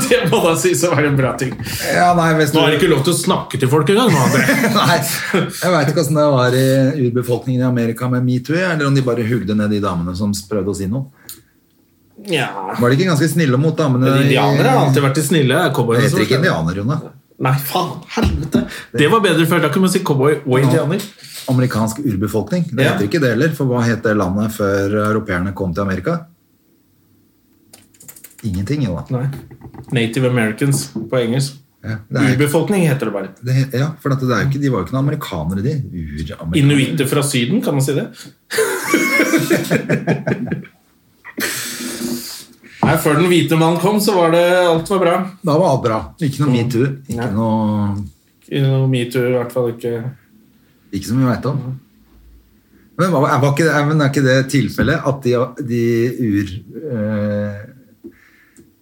Speaker 2: Det må da sies å være en bra ting. Nå
Speaker 1: Ja, nei, hvis du...
Speaker 2: er det ikke lov til å snakke til folk engang. nå, André.
Speaker 1: Nei, jeg veit ikke åssen det var i urbefolkningen i Amerika med metoo, eller om de bare hugde ned de damene som prøvde å si noe.
Speaker 2: Ja.
Speaker 1: Var de ikke ganske snille mot damene?
Speaker 2: Men
Speaker 1: i-
Speaker 2: Indianere har alltid vært de snille. Det er
Speaker 1: Jeg
Speaker 2: cowboyene som
Speaker 1: heter ikke
Speaker 2: var slemme.
Speaker 1: indianer, Jone.
Speaker 2: Nei, faen. Helvete. Det var bedre før. Da kunne man si cowboy og indianer.
Speaker 1: Amerikansk urbefolkning. Det
Speaker 2: Ja.
Speaker 1: heter ikke det heller, for hva het det landet før europeerne kom til Amerika? Ingenting, Jone.
Speaker 2: Nei. Native Americans på engelsk.
Speaker 1: Ja, det er-
Speaker 2: Urbefolkning heter det bare.
Speaker 1: Det, he- ja, for dette, det er jo ikke, de var jo ikke noen amerikanere, de. Uramerikanere.
Speaker 2: Inuitter fra Syden, kan man si det? Nei, Før den hvite mannen kom, så var det alt var bra.
Speaker 1: Da var alt bra. Ikke noe metoo. Ikke,
Speaker 2: Nei.
Speaker 1: noe,
Speaker 2: Ikke noe metoo, i hvert fall ikke.
Speaker 1: ikke som vi veit om. Men hva- er, var ikke, det- er, men er ikke det tilfellet at de, de ur... eh,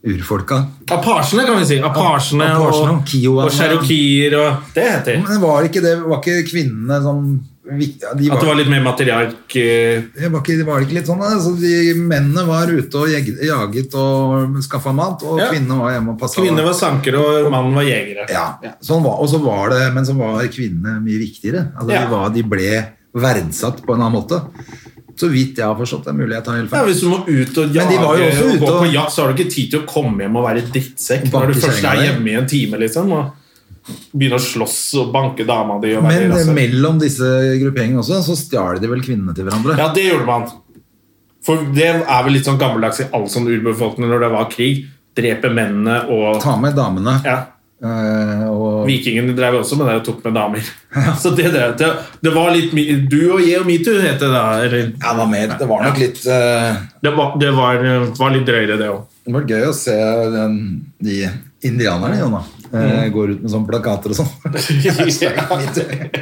Speaker 1: urfolka
Speaker 2: Apasjene, kan vi si. Apasjene
Speaker 1: Apasjene og
Speaker 2: og,
Speaker 1: Kiowaene.
Speaker 2: og cherokeer og Det heter
Speaker 1: Men var ikke det Var ikke kvinnene sånn vi- ja, de
Speaker 2: At det var litt mer matriark eh,
Speaker 1: Ja, var ikke, var det ikke litt sånn? Altså, de Mennene var ute og jeg, jaget og skaffa mat, og
Speaker 2: Ja.
Speaker 1: kvinnene var hjemme og passa
Speaker 2: Kvinner var sankere, og mannen var jegere.
Speaker 1: Ja, sånn var, og så var det, men så var kvinnene mye viktigere. Altså,
Speaker 2: Ja.
Speaker 1: de, var, de ble verdsatt på en annen måte. Så vidt jeg har forstått, det er mulig jeg tar helt
Speaker 2: Ja,
Speaker 1: feil.
Speaker 2: Hvis du må ut og
Speaker 1: Men de
Speaker 2: jage
Speaker 1: var jo også
Speaker 2: og
Speaker 1: ute
Speaker 2: gå på
Speaker 1: og-
Speaker 2: jakt, så har du ikke tid til å komme hjem og være drittsekk
Speaker 1: Og
Speaker 2: når
Speaker 1: banke
Speaker 2: du først
Speaker 1: kjerringa
Speaker 2: er
Speaker 1: di.
Speaker 2: hjemme i en time. liksom og Begynne å slåss og banke dama di. Og være
Speaker 1: Men eh,
Speaker 2: rasshøl.
Speaker 1: mellom disse grupperingene også, så stjal de vel kvinnene til hverandre.
Speaker 2: Ja, det gjorde man. For det er vel litt sånn gammeldags i all sånn urbefolkning når det var krig. Drepe mennene og
Speaker 1: Ta med damene.
Speaker 2: ja,
Speaker 1: eh, og,
Speaker 2: Vikingene drev også med det og tok med damer. Så det, drev- det, det var litt mi- Du og jeg og metoo, het det da. Eller,
Speaker 1: ja, det var mer. Det var nok litt eh,
Speaker 2: det var, det var, eh, var litt drøyere, det òg.
Speaker 1: Det var gøy å se den, de indianerne, Jonna. eh,
Speaker 2: Mm.
Speaker 1: Går ut med sånne plakater og sånn.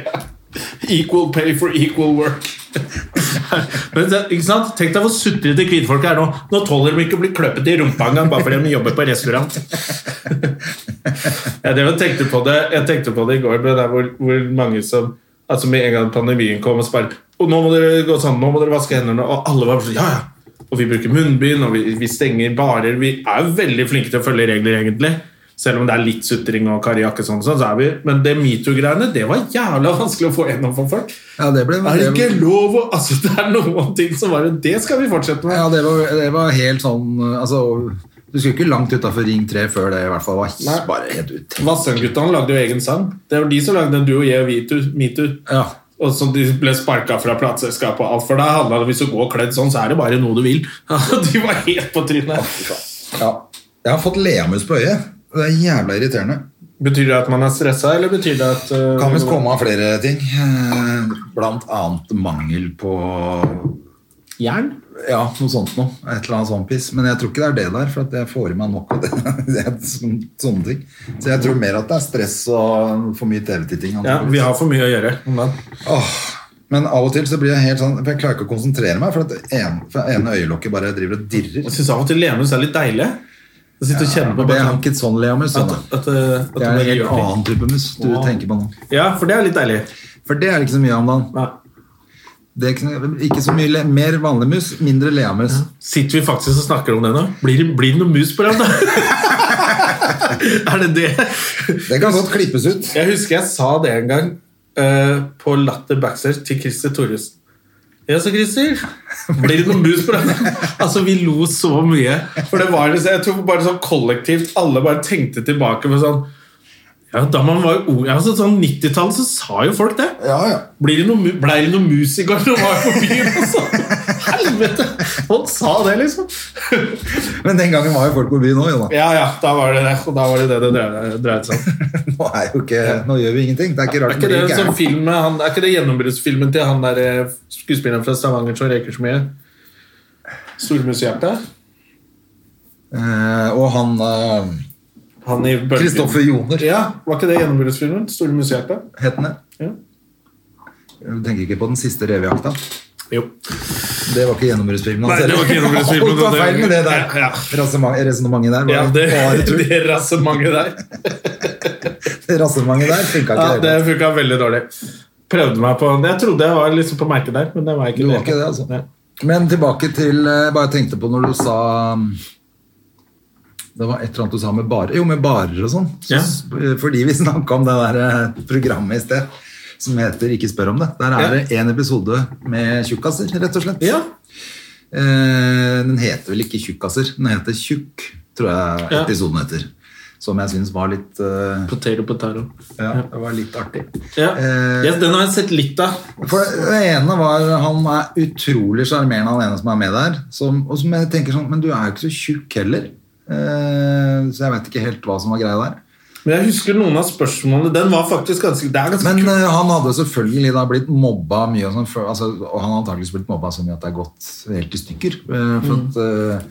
Speaker 2: Equal pay for equal work. Men det, ikke sant? Tenk deg hvor sutrete kvinnfolk er nå. Nå tåler de ikke å bli kløpet i rumpa engang bare fordi de jobber på restaurant. Jeg, drev og tenkte på det, jeg tenkte på det i går, men det er hvor, hvor mange som altså med en gang pandemien kom og så bare Og nå må dere gå sånn, nå må dere vaske hendene, og alle var sånn Ja, ja. Og vi bruker munnbind, og vi, vi stenger barer. Vi er jo veldig flinke til å følge regler, egentlig. Selv om det er litt sutring og Kari Jakkesson, og sånn, så er vi Men det metoo-greiene, det var jævla vanskelig å få gjennom for folk.
Speaker 1: Ja, det ble,
Speaker 2: Er det
Speaker 1: det,
Speaker 2: ikke lov å Altså, det er noen ting som bare Det skal vi fortsette med.
Speaker 1: ja, det, var, det var helt sånn eh, Altså, du skulle ikke langt utafor Ring 3 før det i hvert fall var
Speaker 2: Nei.
Speaker 1: bare helt ut.
Speaker 2: Vassendgutane lagde jo egen sang. Det var de som lagde den 'Du og jeg og vi to- metoo'.
Speaker 1: Ja.
Speaker 2: Og så De ble sparka fra plateselskapet og alt, for da handla det hvis du går kledd sånn, så er det bare noe du vil. de var helt på trynet.
Speaker 1: Ja. Jeg har fått leamus på øyet. Det er jævla irriterende.
Speaker 2: Betyr det at man er stressa, eller betyr det at eh,
Speaker 1: Kan visst komme av flere ting. eh, Blant annet mangel på
Speaker 2: Jern?
Speaker 1: Ja, noe sånt noe. Et eller annet sånt piss. Men jeg tror ikke det er det der, for at jeg får i meg nok av det. det er sån- sånne ting. Så jeg tror mer at det er stress og for mye TV-titting.
Speaker 2: Ja, vi har for mye å gjøre. Men.
Speaker 1: Åh. Men av og til så blir jeg helt sånn For jeg klarer ikke å konsentrere meg, for at en, for ene øyelokket bare driver og dirrer.
Speaker 2: Jeg syns av og til lemus er litt deilig. Jeg sitter og kjenner på
Speaker 1: Det er
Speaker 2: bare
Speaker 1: han ikke sånn, Leamus.
Speaker 2: sånn at,
Speaker 1: Sånn.
Speaker 2: at, eh, at du
Speaker 1: Det er en
Speaker 2: bare
Speaker 1: helt
Speaker 2: gjør ting.
Speaker 1: annen type mus du tenker på nå.
Speaker 2: Ja, for det er litt deilig.
Speaker 1: For det er det ikke så mye av om dagen.
Speaker 2: Nei.
Speaker 1: Det er ikke, ikke så mye le, mer vanlig mus, mindre leamus.
Speaker 2: Sitter vi faktisk og snakker om det nå? Blir det, blir det noe mus på dem, da? er det det?
Speaker 1: Det kan godt klippes ut.
Speaker 2: Jeg husker jeg sa det en gang eh, på Latter Backstage til Christer Thoresen. Ja, så Christer, blir det noe mus på deg? altså, vi lo så mye. For det var liksom, jeg tror bare sånn kollektivt, alle bare tenkte tilbake med sånn ja, Da man var ung, ja, så sånn 90-tallet, så sa jo folk det.
Speaker 1: Ja, ja.
Speaker 2: Blir det noe, mu- ble det noe mus i går når du var på byen? Altså? Helvete! Folk sa det, liksom.
Speaker 1: Men den gangen var jo folk på byen òg, Jonas.
Speaker 2: Ja, ja, da var det det. Og da var det det det dreide- dreide seg om.
Speaker 1: Nå, er jo ikke, nå gjør vi ingenting. Det er ikke
Speaker 2: Er
Speaker 1: rart
Speaker 2: ikke
Speaker 1: den
Speaker 2: det,
Speaker 1: blir
Speaker 2: sånn
Speaker 1: gæren.
Speaker 2: film, med han, er ikke det gjennombruddsfilmen til han der eh, skuespilleren fra Stavanger som røyker så mye? Stormushjerte?
Speaker 1: Eh, og han eh,
Speaker 2: Han i Bølgen.
Speaker 1: Kristoffer Joner
Speaker 2: Ja, var ikke det gjennombruddsfilmen? Stormushjerte?
Speaker 1: het han det.
Speaker 2: Ja.
Speaker 1: Jeg tenker ikke på den siste revejakta.
Speaker 2: Jo.
Speaker 1: Det var ikke gjennombruddsfilmen
Speaker 2: Nei, det var ikke gjennombruddsfilmen,
Speaker 1: Alt var
Speaker 2: det-
Speaker 1: feil med det der.
Speaker 2: Ja, ja.
Speaker 1: Rasema- Resonnementet der var
Speaker 2: Ja, det,
Speaker 1: bare tull.
Speaker 2: det rassementet der.
Speaker 1: Rasonnementet der funka
Speaker 2: Ja,
Speaker 1: ikke.
Speaker 2: det
Speaker 1: det,
Speaker 2: funka veldig dårlig. Prøvde meg på Jeg trodde jeg var liksom på merket der, men det var jeg ikke.
Speaker 1: Du
Speaker 2: i
Speaker 1: var ikke det,
Speaker 2: hele
Speaker 1: altså.
Speaker 2: tatt. Nei.
Speaker 1: Men tilbake til eh, Bare tenkte på når du sa mm, Det var et eller annet du sa med barer Jo, med barer og sånn. Så,
Speaker 2: Ja.
Speaker 1: s- Fordi vi snakka om det der eh, programmet i sted som heter Ikke spør om det. Der er
Speaker 2: Ja.
Speaker 1: det én episode med tjukkaser, rett og slett.
Speaker 2: Ja.
Speaker 1: Eh, den heter vel ikke Tjukkaser. Den heter Tjukk, tror jeg
Speaker 2: Ja.
Speaker 1: episoden heter. Som jeg syns var litt eh,
Speaker 2: Potato, potato.
Speaker 1: Ja, det var litt artig.
Speaker 2: Ja.
Speaker 1: Eh,
Speaker 2: Yes, den har jeg sett litt av.
Speaker 1: For det ene var Han er utrolig sjarmerende, han ene som er med der. Som, og som jeg tenker sånn Men du er jo ikke så tjukk heller. Eh, så jeg vet ikke helt hva som var greia der.
Speaker 2: Men jeg husker noen av spørsmålene. Den var faktisk ganske, det er ganske
Speaker 1: Men
Speaker 2: kult.
Speaker 1: eh, han hadde selvfølgelig da blitt mobba mye, og, sånn, for, altså, og han har antakeligvis blitt mobba så mye at det er gått helt i stykker. eh, for at, eh,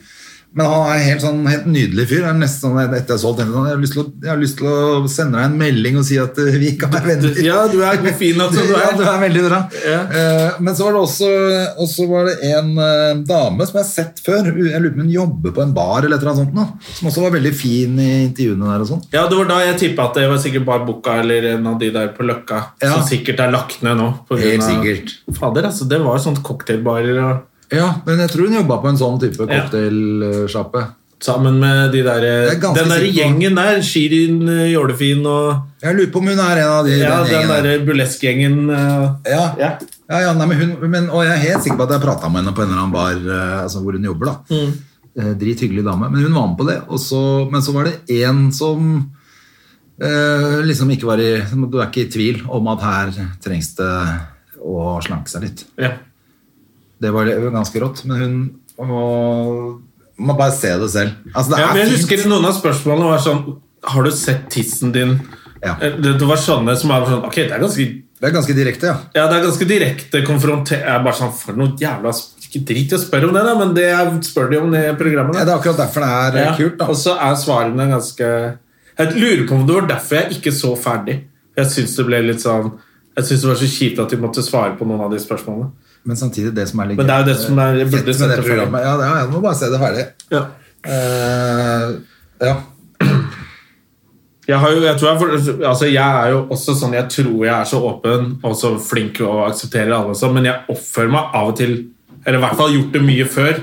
Speaker 1: men han er helt sånn helt nydelig fyr. Det er nesten sånn at etter jeg så den, jeg har lyst til å, jeg har lyst til å sende deg en melding og si at eh, vi kan være venner.
Speaker 2: Ja, du er hvor fin at du er.
Speaker 1: Ja, du er veldig bra.
Speaker 2: Ja.
Speaker 1: Eh, men så var det også og så var det en eh, dame som jeg har sett før. Jeg lurer på om hun jobber på en bar eller et eller annet sånt. Nå, som også var veldig fin i intervjuene der og sånn.
Speaker 2: Ja, det var da jeg tippa at det var sikkert bare Bukka eller en av de der på Løkka.
Speaker 1: Ja.
Speaker 2: Som sikkert er lagt ned nå. på grunn
Speaker 1: Helt
Speaker 2: av-
Speaker 1: sikkert.
Speaker 2: Fader, altså, det var sånn cocktailbarer og
Speaker 1: Ja, men jeg tror hun jobba på en sånn type
Speaker 2: Ja.
Speaker 1: cocktailsjappe.
Speaker 2: Sammen med de der, eh,
Speaker 1: er ganske
Speaker 2: den der
Speaker 1: sikker på.
Speaker 2: gjengen der. Shirin eh, Jålefin og
Speaker 1: Jeg lurer på om hun er en av de
Speaker 2: ja,
Speaker 1: den
Speaker 2: den
Speaker 1: gjengen der.
Speaker 2: der burleskgjengen. eh,
Speaker 1: Ja.
Speaker 2: Ja.
Speaker 1: Ja, ja, nei, men hun, men, og jeg er helt sikker på at jeg prata med henne på en eller annen bar eh, altså hvor hun jobber. da.
Speaker 2: Mm.
Speaker 1: Eh, Drithyggelig dame. Men hun var med på det. Og så, men så var det én som eh, liksom ikke var i Du er ikke i tvil om at her trengs det å slanke seg litt.
Speaker 2: Ja.
Speaker 1: Det var det var ganske rått. Men hun og, Må bare se det selv. Altså, det
Speaker 2: ja, men
Speaker 1: er
Speaker 2: jeg
Speaker 1: fint.
Speaker 2: husker noen av spørsmålene var sånn Har du sett tissen din?
Speaker 1: Ja.
Speaker 2: Eh, Det, det var sånne som var sånn Ok, det er ganske
Speaker 1: Det er ganske direkte, ja.
Speaker 2: Ja, det er ganske direkte konfrontert. Jeg er bare sånn, for noe jævla sp- Ikke drit i å spørre om det, da, men det jeg spør de om i programmet.
Speaker 1: ja. Det
Speaker 2: da.
Speaker 1: er akkurat derfor det er eh,
Speaker 2: Ja,
Speaker 1: kult. da.
Speaker 2: Og så er svarene ganske Jeg lurer på om det var derfor jeg ikke så ferdig. Jeg syns det ble litt sånn Jeg synes det var så kjipt at de måtte svare på noen av de spørsmålene.
Speaker 1: Men samtidig det som er litt
Speaker 2: Men det er jo det som er- jeg
Speaker 1: fett
Speaker 2: burde
Speaker 1: med det
Speaker 2: sett det ferdig.
Speaker 1: programmet. Ja, det er- jeg må bare se det ferdig. Eh, ja.
Speaker 2: Jeg, har jo, jeg, tror jeg, for- altså jeg er jo også sånn Jeg tror jeg er så åpen og så flink og aksepterer alle, og sånn, men jeg oppfører meg av og til Eller i hvert fall gjort det mye før.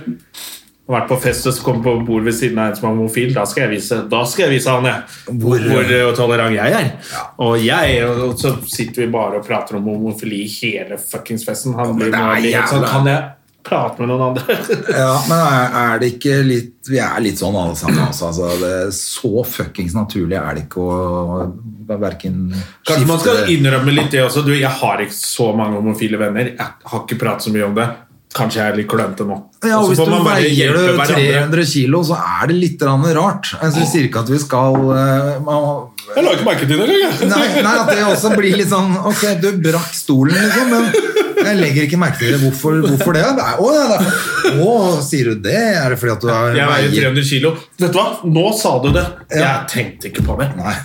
Speaker 2: Og vært på fest og så kommer på bord ved siden av en som er homofil. Da skal jeg vise, da skal jeg vise han jeg, hvor,
Speaker 1: Hvor-
Speaker 2: eh, tolerant jeg er. Og jeg, og så sitter vi bare og prater om homofili hele fuckings festen. Han blir
Speaker 1: det er
Speaker 2: bare litt sånn
Speaker 1: jævla-
Speaker 2: Kan jeg Prate med noen andre.
Speaker 1: Ja, men er, er det ikke litt Vi er litt sånn alle sammen, altså. altså det, så fuckings naturlig er det ikke å verken
Speaker 2: Kanskje man skal innrømme litt det også. Du, jeg har ikke så mange homofile venner. Jeg har ikke pratet så mye om det. Kanskje jeg er litt klønete nå.
Speaker 1: ja, og
Speaker 2: Og så
Speaker 1: Hvis
Speaker 2: får
Speaker 1: du
Speaker 2: man bare
Speaker 1: veier
Speaker 2: hjelpe
Speaker 1: du
Speaker 2: hverandre.
Speaker 1: 300 kilo, så er det litt grann rart. Altså, jeg sier ikke at vi skal eh, man-
Speaker 2: Jeg la ikke merke til det engang.
Speaker 1: nei, nei, at det også blir litt sånn Ok, du brakk stolen, liksom, men jeg legger ikke merke til det. Hvorfor, hvorfor det? Nei, Å, ja, det er- å, sier du det? Er det fordi at du har
Speaker 2: Jeg veier 300 kilo. Vet du hva? Nå sa du det.
Speaker 1: Ja.
Speaker 2: Jeg tenkte ikke på det.
Speaker 1: Nei,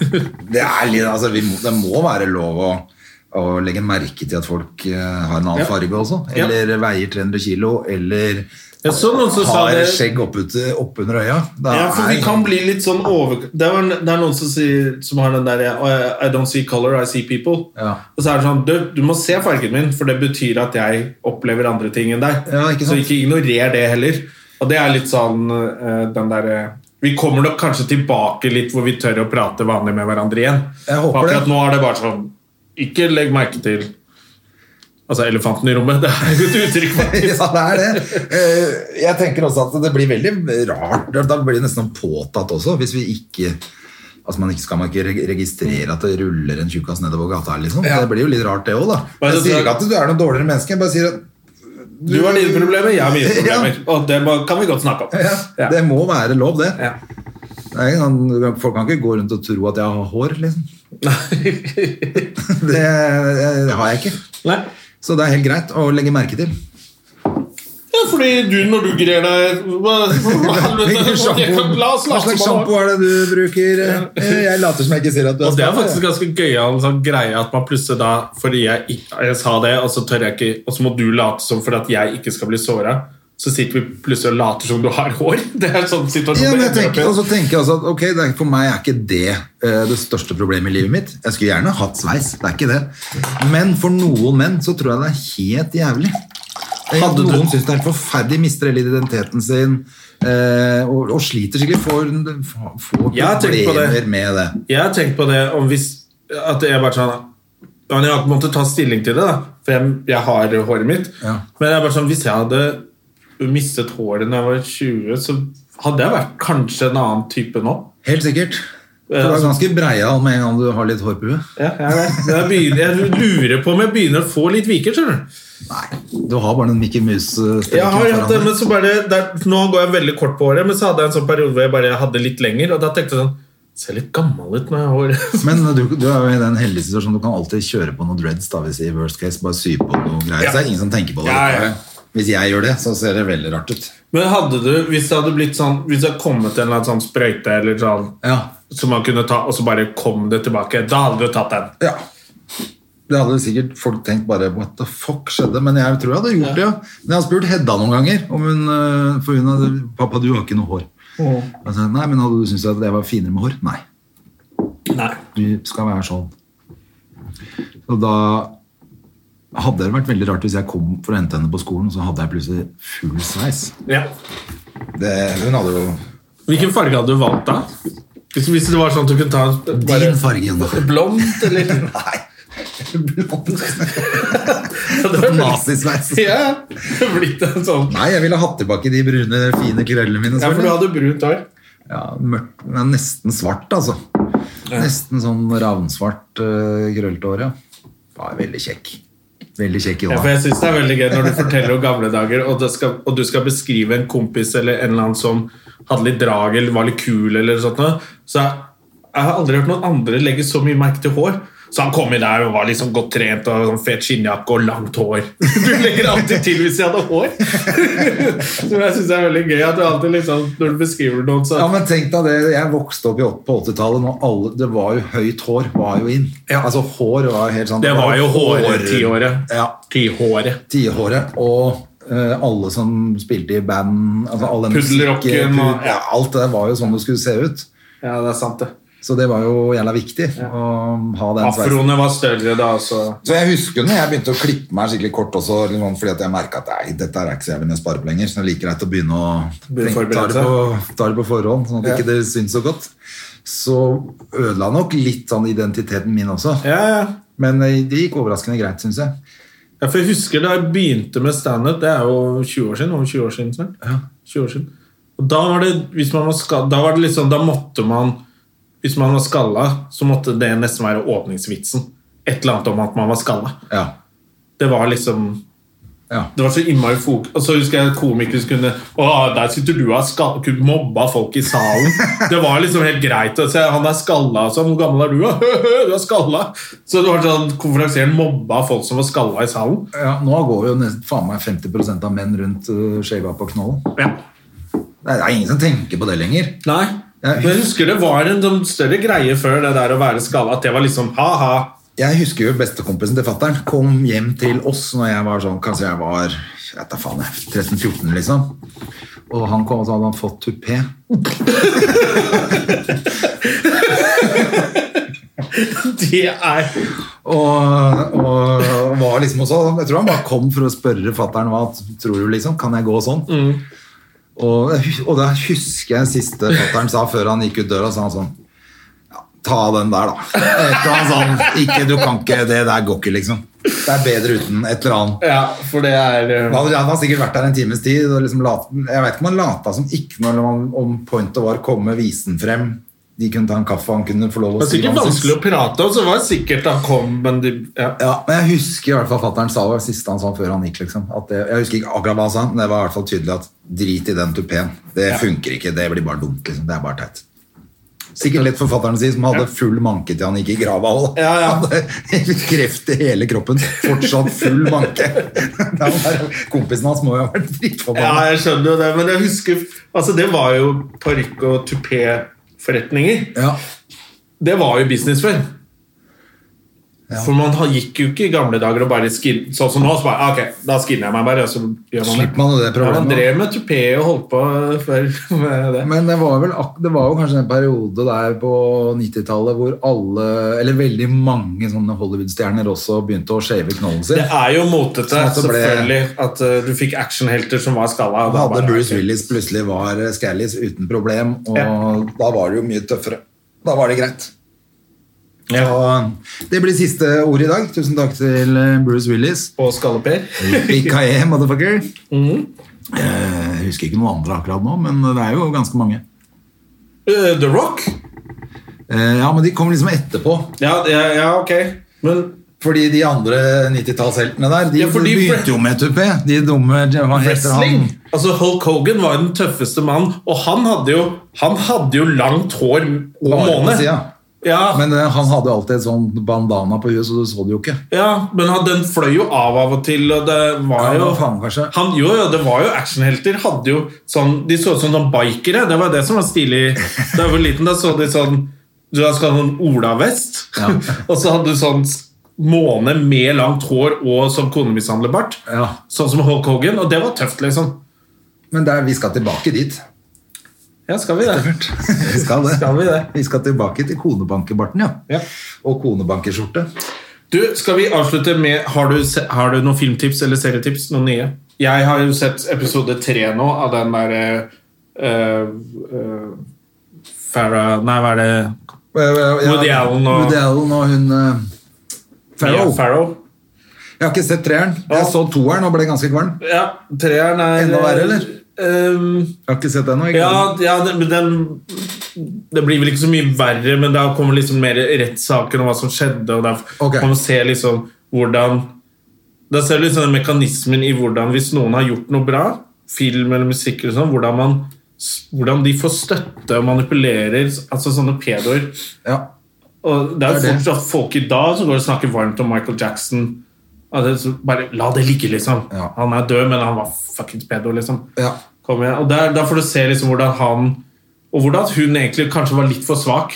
Speaker 1: det er litt altså, vi må, Det må være lov å, å legge merke til at folk eh, har en annen
Speaker 2: Ja.
Speaker 1: farge også.
Speaker 2: Ja.
Speaker 1: Eller veier 300 kilo, eller
Speaker 2: Jeg så noen som sa
Speaker 1: har
Speaker 2: det.
Speaker 1: skjegg oppunder opp under øya. Det
Speaker 2: Ja, for vi
Speaker 1: er-
Speaker 2: kan bli litt sånn over... Det er, det er noen som, sier, som har den der eh, I don't see color, I see people.
Speaker 1: Ja.
Speaker 2: Og så er det sånn, du, du må se fargen min, for det betyr at jeg opplever andre ting enn deg.
Speaker 1: Ja, ikke sant?
Speaker 2: Så ikke ignorer det heller. Og det er litt sånn eh, den der... eh, Vi kommer nok kanskje tilbake litt hvor vi tør å prate vanlig med hverandre igjen.
Speaker 1: Jeg håper
Speaker 2: For Akkurat
Speaker 1: det.
Speaker 2: nå er det bare sånn, ikke legg merke til... Altså, elefanten i rommet, det er jo et uttrykk faktisk.
Speaker 1: ja, det er det. Eh, Jeg tenker også at det blir veldig rart. Da blir det nesten påtatt også, hvis vi ikke Altså man ikke Skal man ikke reg- registrere at det ruller en tjukkas nedover gata? Liksom.
Speaker 2: Ja.
Speaker 1: Det blir jo litt rart, det òg, da.
Speaker 2: Bare
Speaker 1: Jeg
Speaker 2: så-
Speaker 1: sier ikke at du er noe dårligere menneske, jeg bare sier at
Speaker 2: Du har dine problemer, jeg har mine problemer. Og det må- kan vi godt snakke om.
Speaker 1: ja,
Speaker 2: Ja.
Speaker 1: det må være lov, det.
Speaker 2: Ja.
Speaker 1: Det er ikke sånn- Folk kan ikke gå rundt og tro at jeg har hår, liksom. Det, det har jeg ikke.
Speaker 2: Nei.
Speaker 1: Så det er helt greit å legge merke til.
Speaker 2: Ja, fordi du, når du grer deg hva, hva,
Speaker 1: Hvilken
Speaker 2: helvete,
Speaker 1: shampoo-
Speaker 2: La oss
Speaker 1: Hva
Speaker 2: late
Speaker 1: slags
Speaker 2: som
Speaker 1: sjampo
Speaker 2: han-
Speaker 1: er det du bruker? Eh, Jeg later som jeg ikke ser at du
Speaker 2: Og Altså, Det er
Speaker 1: spa,
Speaker 2: faktisk
Speaker 1: jeg.
Speaker 2: ganske gøyal sånn greie at man plutselig da Fordi jeg, ikke- jeg sa det, og så tør jeg ikke Og så må du late som for at jeg ikke skal bli såra. Så sitter vi plutselig og later som du har hår. Det er en sånn situasjon
Speaker 1: ja, men jeg
Speaker 2: jeg ender opp i.
Speaker 1: tenker, og så tenker jeg også at ok, det er, for meg er ikke det eh, det største problemet i livet mitt. Jeg skulle gjerne hatt sveis, det er ikke det. Men for noen menn så tror jeg det er helt jævlig. Eh,
Speaker 2: Hadde
Speaker 1: At
Speaker 2: du-
Speaker 1: noen syns det er helt forferdelig, mister hele identiteten sin eh, og, og sliter sikkert for, for
Speaker 2: Jeg har tenkt på det.
Speaker 1: problemer med det.
Speaker 2: Jeg har tenkt på det om hvis At jeg bare sånn ja, men Jeg har ikke måttet ta stilling til det, da for jeg, jeg har håret mitt.
Speaker 1: Ja.
Speaker 2: Men jeg er bare sånn, hvis jeg hadde mistet håret da jeg var 20, så hadde jeg vært kanskje en annen type nå.
Speaker 1: Helt sikkert. For du
Speaker 2: Ja,
Speaker 1: er
Speaker 2: altså-
Speaker 1: ganske breia med en gang du har litt hår på huet.
Speaker 2: Ja, jeg, vet. jeg, begynner, jeg lurer på om jeg begynner å få litt viker. skjønner du?
Speaker 1: Nei, du har bare den Mickey Mouse-streken
Speaker 2: Jeg har
Speaker 1: foran
Speaker 2: hatt det,
Speaker 1: deg.
Speaker 2: men så bare, der, Nå går jeg veldig kort på håret, men så hadde jeg en sånn periode hvor jeg bare hadde litt lenger. Og da tenkte jeg sånn Ser litt gammel ut når jeg har håret.
Speaker 1: Men du, du er jo i den heldige situasjonen du kan alltid kjøre på noen dreads. da, hvis i worst case, Bare sy på noe greier.
Speaker 2: Ja.
Speaker 1: Så er det ingen som tenker på det.
Speaker 2: Ja, ja.
Speaker 1: Hvis jeg gjør det, så ser det veldig rart ut.
Speaker 2: Men hadde du, hvis det hadde blitt sånn Hvis det hadde kommet en eller annen sånn sprøyte eller sånn
Speaker 1: Ja.
Speaker 2: som man kunne ta, og så bare kom det tilbake. Da hadde du tatt den.
Speaker 1: ja. Det hadde sikkert folk tenkt bare What the fuck skjedde? Men jeg tror jeg hadde gjort det, ja. Men jeg har spurt Hedda noen ganger. Om hun, øh, for hun hadde Pappa, du har ikke noe hår.
Speaker 2: Mm.
Speaker 1: Jeg sa, Nei, men hadde du syntes at jeg var finere med hår? Nei.
Speaker 2: Nei.
Speaker 1: Du skal være sånn. Og da hadde det vært veldig rart hvis jeg kom for å hente henne på skolen, og så hadde jeg plutselig full sveis.
Speaker 2: Ja.
Speaker 1: Det, hun hadde jo
Speaker 2: Hvilken farge hadde du valgt da? Hvis, hvis det var sånn at du kunne ta en-
Speaker 1: din farge igjen. da.
Speaker 2: blond, eller
Speaker 1: Nei.
Speaker 2: Ja, det var-
Speaker 1: Nazisveis.
Speaker 2: Ja, det er blitt en sånn.
Speaker 1: Nei, jeg ville hatt tilbake de brune, fine krøllene mine.
Speaker 2: Ja, for du
Speaker 1: selvfølgelig.
Speaker 2: hadde brunt hår.
Speaker 1: Ja, mørkt, men nesten svart, altså. Nesten sånn ravnsvart uh, krøllete hår, ja. Var veldig kjekk. Veldig kjekk i
Speaker 2: Ja, for
Speaker 1: hånda.
Speaker 2: jeg synes det er veldig gøy når du forteller om gamle dager, og, det skal, og du skal beskrive en kompis eller en eller annen som hadde litt drag eller var litt kul, eller sånt, noe, så jeg, jeg har aldri hørt noen andre legge så mye merke til hår. Så han kom inn der og var liksom godt trent og sånn fet skinnjakke og langt hår. Du legger alltid til hvis jeg hadde hår. Så jeg synes det er veldig gøy at du alltid liksom, når du beskriver noen, så
Speaker 1: Ja, men tenk deg det, Jeg vokste opp i åt- på 80-tallet, og alle- det var jo høyt hår. var jo inn.
Speaker 2: Ja.
Speaker 1: Altså, hår var helt sånn
Speaker 2: Det var jo håret, tiåret.
Speaker 1: Ja,
Speaker 2: Tihåret.
Speaker 1: tiåret. Og eh, alle som spilte i band altså alle
Speaker 2: Puddelrocken
Speaker 1: musikken,
Speaker 2: og-
Speaker 1: ja, Alt det var jo sånn det skulle se ut.
Speaker 2: Ja, det er sant, det.
Speaker 1: Så det var jo jævla viktig å ha den sveisen.
Speaker 2: Afroene var større da, så
Speaker 1: Så jeg husker når jeg begynte å klippe meg skikkelig kort også, liksom, fordi at jeg merka at nei, dette er ikke så jævlig mye å spare på lenger. Så det er like greit å begynne å
Speaker 2: Begynne å
Speaker 1: tenke- ta,
Speaker 2: forberede
Speaker 1: det på, ta det på forhånd, sånn at
Speaker 2: Ja.
Speaker 1: ikke det syns så godt. Så ødela nok litt sånn identiteten min også.
Speaker 2: Ja, ja.
Speaker 1: Men eh, det gikk overraskende greit, syns jeg.
Speaker 2: Ja, for jeg husker da jeg begynte med standup, det er jo 20 år siden. Over 20 år siden snart. 20 år siden. Og da var det hvis man var skall, da var det litt sånn, da måtte man Hvis man var skalla, så måtte det nesten være åpningsvitsen. Et eller annet om at man var skalla.
Speaker 1: Ja.
Speaker 2: Det var liksom
Speaker 1: Ja.
Speaker 2: Det var så innmari fok... Og så husker jeg komikere som kunne Å, der sitter du og er skall- kunne mobba folk i salen. Det var liksom helt greit å se. Han er skalla og sånn. Hvor gammel er du, da? Du er skalla. Så det var sånn konferansieren mobba folk som var skalla i salen.
Speaker 1: ja, Nå går jo nesten faen meg 50 av menn rundt øh, skjeva på knollen.
Speaker 2: Ja.
Speaker 1: Det er ingen som tenker på det lenger.
Speaker 2: Nei.
Speaker 1: Ja.
Speaker 2: Men jeg husker det var en sånn større greie før det der å være skalla. At det var liksom ha-ha.
Speaker 1: Jeg husker jo bestekompisen til fattern kom hjem til oss når jeg var sånn, kanskje jeg var jeg vet da faen jeg, 13-14 liksom. Og han kom og så hadde han fått tupé.
Speaker 2: Det er
Speaker 1: Og, og var liksom også, jeg tror han bare kom for å spørre fattern hva tror du liksom, kan jeg gå sånn?
Speaker 2: Mm.
Speaker 1: Og, og da husker jeg siste fattern sa før han gikk ut døra, sa han sånn, ja, ta den der da. Et eller annet sånn, ikke, du kan ikke, det der går ikke liksom. Det er bedre uten et eller annet.
Speaker 2: Ja, for det er eh,
Speaker 1: Han hadde, han hadde sikkert vært der en times tid. Og liksom lat, jeg vet ikke om han lata som ikke når man, om pointet var å komme visen frem. De kunne ta en kaffe, han kunne få lov
Speaker 2: Det
Speaker 1: å
Speaker 2: var
Speaker 1: hva
Speaker 2: sikkert
Speaker 1: han
Speaker 2: vanskelig å
Speaker 1: syntes.
Speaker 2: prate om, så det var sikkert han kom, men de, ja.
Speaker 1: Ja, men Jeg husker i hvert fall fatteren sa det var det siste han sa før han gikk. liksom. At det, jeg husker ikke akkurat hva han sa, men det var i hvert fall tydelig at drit i den tupeen. Det funker ikke, det blir bare dumt. liksom. Det er bare teit. Sikkert lett for fatteren å si, som hadde full manke til han gikk i grava. og
Speaker 2: Ja, ja.
Speaker 1: Hadde kreft i hele kroppen. Fortsatt full manke. Det er bare- Kompisen hans må jo ha vært drittforbanna.
Speaker 2: Ja, jeg skjønner jo det, men jeg husker Altså, det var jo parykk- og tupéforretninger.
Speaker 1: Ja.
Speaker 2: Det var jo business før.
Speaker 1: Ja.
Speaker 2: For man ha- gikk jo ikke i gamle dager og bare skin, sånn som nå. Så bare, ok, da skinner jeg meg bare, og så gjør man
Speaker 1: Slipper man jo det
Speaker 2: Ja,
Speaker 1: problemet.
Speaker 2: man drev med tupé og holdt på før med det.
Speaker 1: Men det var, vel, ak- det var jo kanskje en periode der på 90-tallet hvor alle, eller veldig mange sånne Hollywood-stjerner også begynte å shave knollen sin.
Speaker 2: Det er jo motete,
Speaker 1: Sånn at det ble-
Speaker 2: selvfølgelig, at eh, du fikk actionhelter som var skalla.
Speaker 1: Da
Speaker 2: og da
Speaker 1: hadde
Speaker 2: bare,
Speaker 1: Bruce
Speaker 2: ok.
Speaker 1: Willis plutselig var eh, Scallies uten problem, og
Speaker 2: Ja.
Speaker 1: da var det jo mye tøffere. Da var det greit.
Speaker 2: Ja.
Speaker 1: Så eh, det blir siste ord i dag. Tusen takk til eh, Bruce Willis.
Speaker 2: Og skalle-Per.
Speaker 1: Big Kaye, motherfucker.
Speaker 2: Mm.
Speaker 1: Eh, Jeg husker ikke noen andre akkurat nå, men det er jo ganske mange.
Speaker 2: Eh, The Rock?
Speaker 1: Eh, Ja, men de kom liksom etterpå.
Speaker 2: Ja, ja, ja ok. Men
Speaker 1: Fordi de andre 90-tallsheltene der, de
Speaker 2: Ja, for de-
Speaker 1: begynte jo med tupé. De dumme hva heter han?
Speaker 2: Wrestling? Altså Hulk Hogan var jo den tøffeste mannen, og han hadde jo, han hadde jo langt hår og
Speaker 1: Bare på
Speaker 2: måne.
Speaker 1: siden.
Speaker 2: Ja, men,
Speaker 1: Men eh, han hadde jo alltid et sånn bandana på huet, så du så det jo ikke.
Speaker 2: ja, men han, den fløy jo av av og til, og det
Speaker 1: Ja,
Speaker 2: var
Speaker 1: det
Speaker 2: jo
Speaker 1: var faen kanskje.
Speaker 2: han, Jo, jo, det var jo actionhelter. Hadde jo sånn, de så ut som sånn bikere. Det var det som var stilig da jeg var liten. Da så de sånn Du har sånn olavest,
Speaker 1: Ja.
Speaker 2: og så hadde du sånn måne med langt hår og sånn konemishandlerbart.
Speaker 1: Ja.
Speaker 2: Sånn som Hulk Hogan, og det var tøft, liksom.
Speaker 1: Men der, vi skal tilbake dit.
Speaker 2: Ja, skal vi det?
Speaker 1: Vi skal det.
Speaker 2: Skal vi det?
Speaker 1: Vi skal tilbake til konebankerbarten, ja.
Speaker 2: Ja.
Speaker 1: Og konebankerskjorte.
Speaker 2: Du, skal vi avslutte med Har du, se- har du noen filmtips eller serietips? Noen nye? Jeg har jo sett episode tre nå av den derre Farah Nei, hva er det?
Speaker 1: Eh, eh, ja,
Speaker 2: Woody Allen og-
Speaker 1: Woody Allen og hun eh, Farrow.
Speaker 2: Mia Farrow.
Speaker 1: Jeg har ikke sett treeren.
Speaker 2: Ja.
Speaker 1: Jeg så toeren og ble ganske kvalm.
Speaker 2: Ja, treeren er
Speaker 1: Enda verre, eller?
Speaker 2: ehm,
Speaker 1: Jeg har ikke sett den nå. ikke
Speaker 2: ja, ja den, men den, det blir vel ikke så mye verre, men da kommer liksom mer rettssaken og hva som skjedde. Og da
Speaker 1: Ok.
Speaker 2: kan man se liksom hvordan Da ser du liksom den mekanismen i hvordan hvis noen har gjort noe bra, film eller musikk eller sånn, hvordan, man, hvordan de får støtte og manipulerer altså sånne pedoer.
Speaker 1: Ja.
Speaker 2: Og det er
Speaker 1: Det
Speaker 2: jo
Speaker 1: er det.
Speaker 2: fortsatt folk i dag som går og snakker varmt om Michael Jackson. Altså, så bare la det ligge, liksom.
Speaker 1: Ja.
Speaker 2: Han er død, men han var fuckings pedo, liksom.
Speaker 1: Ja.
Speaker 2: Kom igjen. Og der, der får du se liksom hvordan han Og hvordan hun egentlig kanskje var litt for svak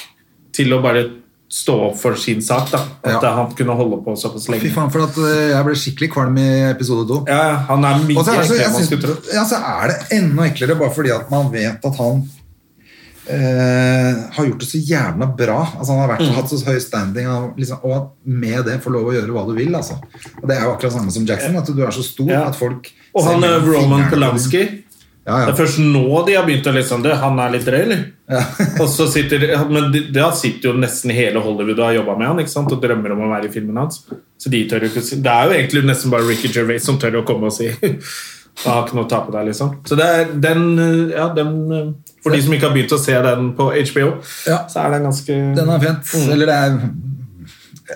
Speaker 2: til å bare stå opp for sin sak. da At
Speaker 1: Ja.
Speaker 2: han kunne holde på såpass
Speaker 1: Fy
Speaker 2: lenge.
Speaker 1: faen, for at eh, jeg ble skikkelig kvalm i episode to.
Speaker 2: Ja, ja, han er mye
Speaker 1: Og så er, det, så,
Speaker 2: enklere
Speaker 1: jeg
Speaker 2: enn man skulle tro.
Speaker 1: synes, ja, så er det enda eklere bare fordi at man vet at han eh, har gjort det så jævla bra. Altså, han har vært,
Speaker 2: Mm.
Speaker 1: hatt så høy standing, og, liksom, og at med det får lov å gjøre hva du vil. Altså. Og Det er jo akkurat samme som Jackson, at du er så stor
Speaker 2: Ja.
Speaker 1: at folk
Speaker 2: Og han
Speaker 1: ser
Speaker 2: eh,
Speaker 1: mellom
Speaker 2: Roman
Speaker 1: fingrene på deg.
Speaker 2: Polanski
Speaker 1: Ja, ja.
Speaker 2: Det er først nå de har begynt å liksom det, Han er litt drøy, eller? og så sitter, men de- da sitter jo nesten hele Hollywood og har jobba med han ikke sant? og drømmer om å være i filmen hans. Så de tør jo ikke si Det er jo egentlig nesten bare Ricky Gervais som tør å komme og si Jeg har ikke noe å tape der, liksom. Så det er den, eh, ja, den eh, For de som ikke har begynt å se den på HBO,
Speaker 1: Ja.
Speaker 2: så er den ganske
Speaker 1: Den er fint.
Speaker 2: Mm.
Speaker 1: Eller det er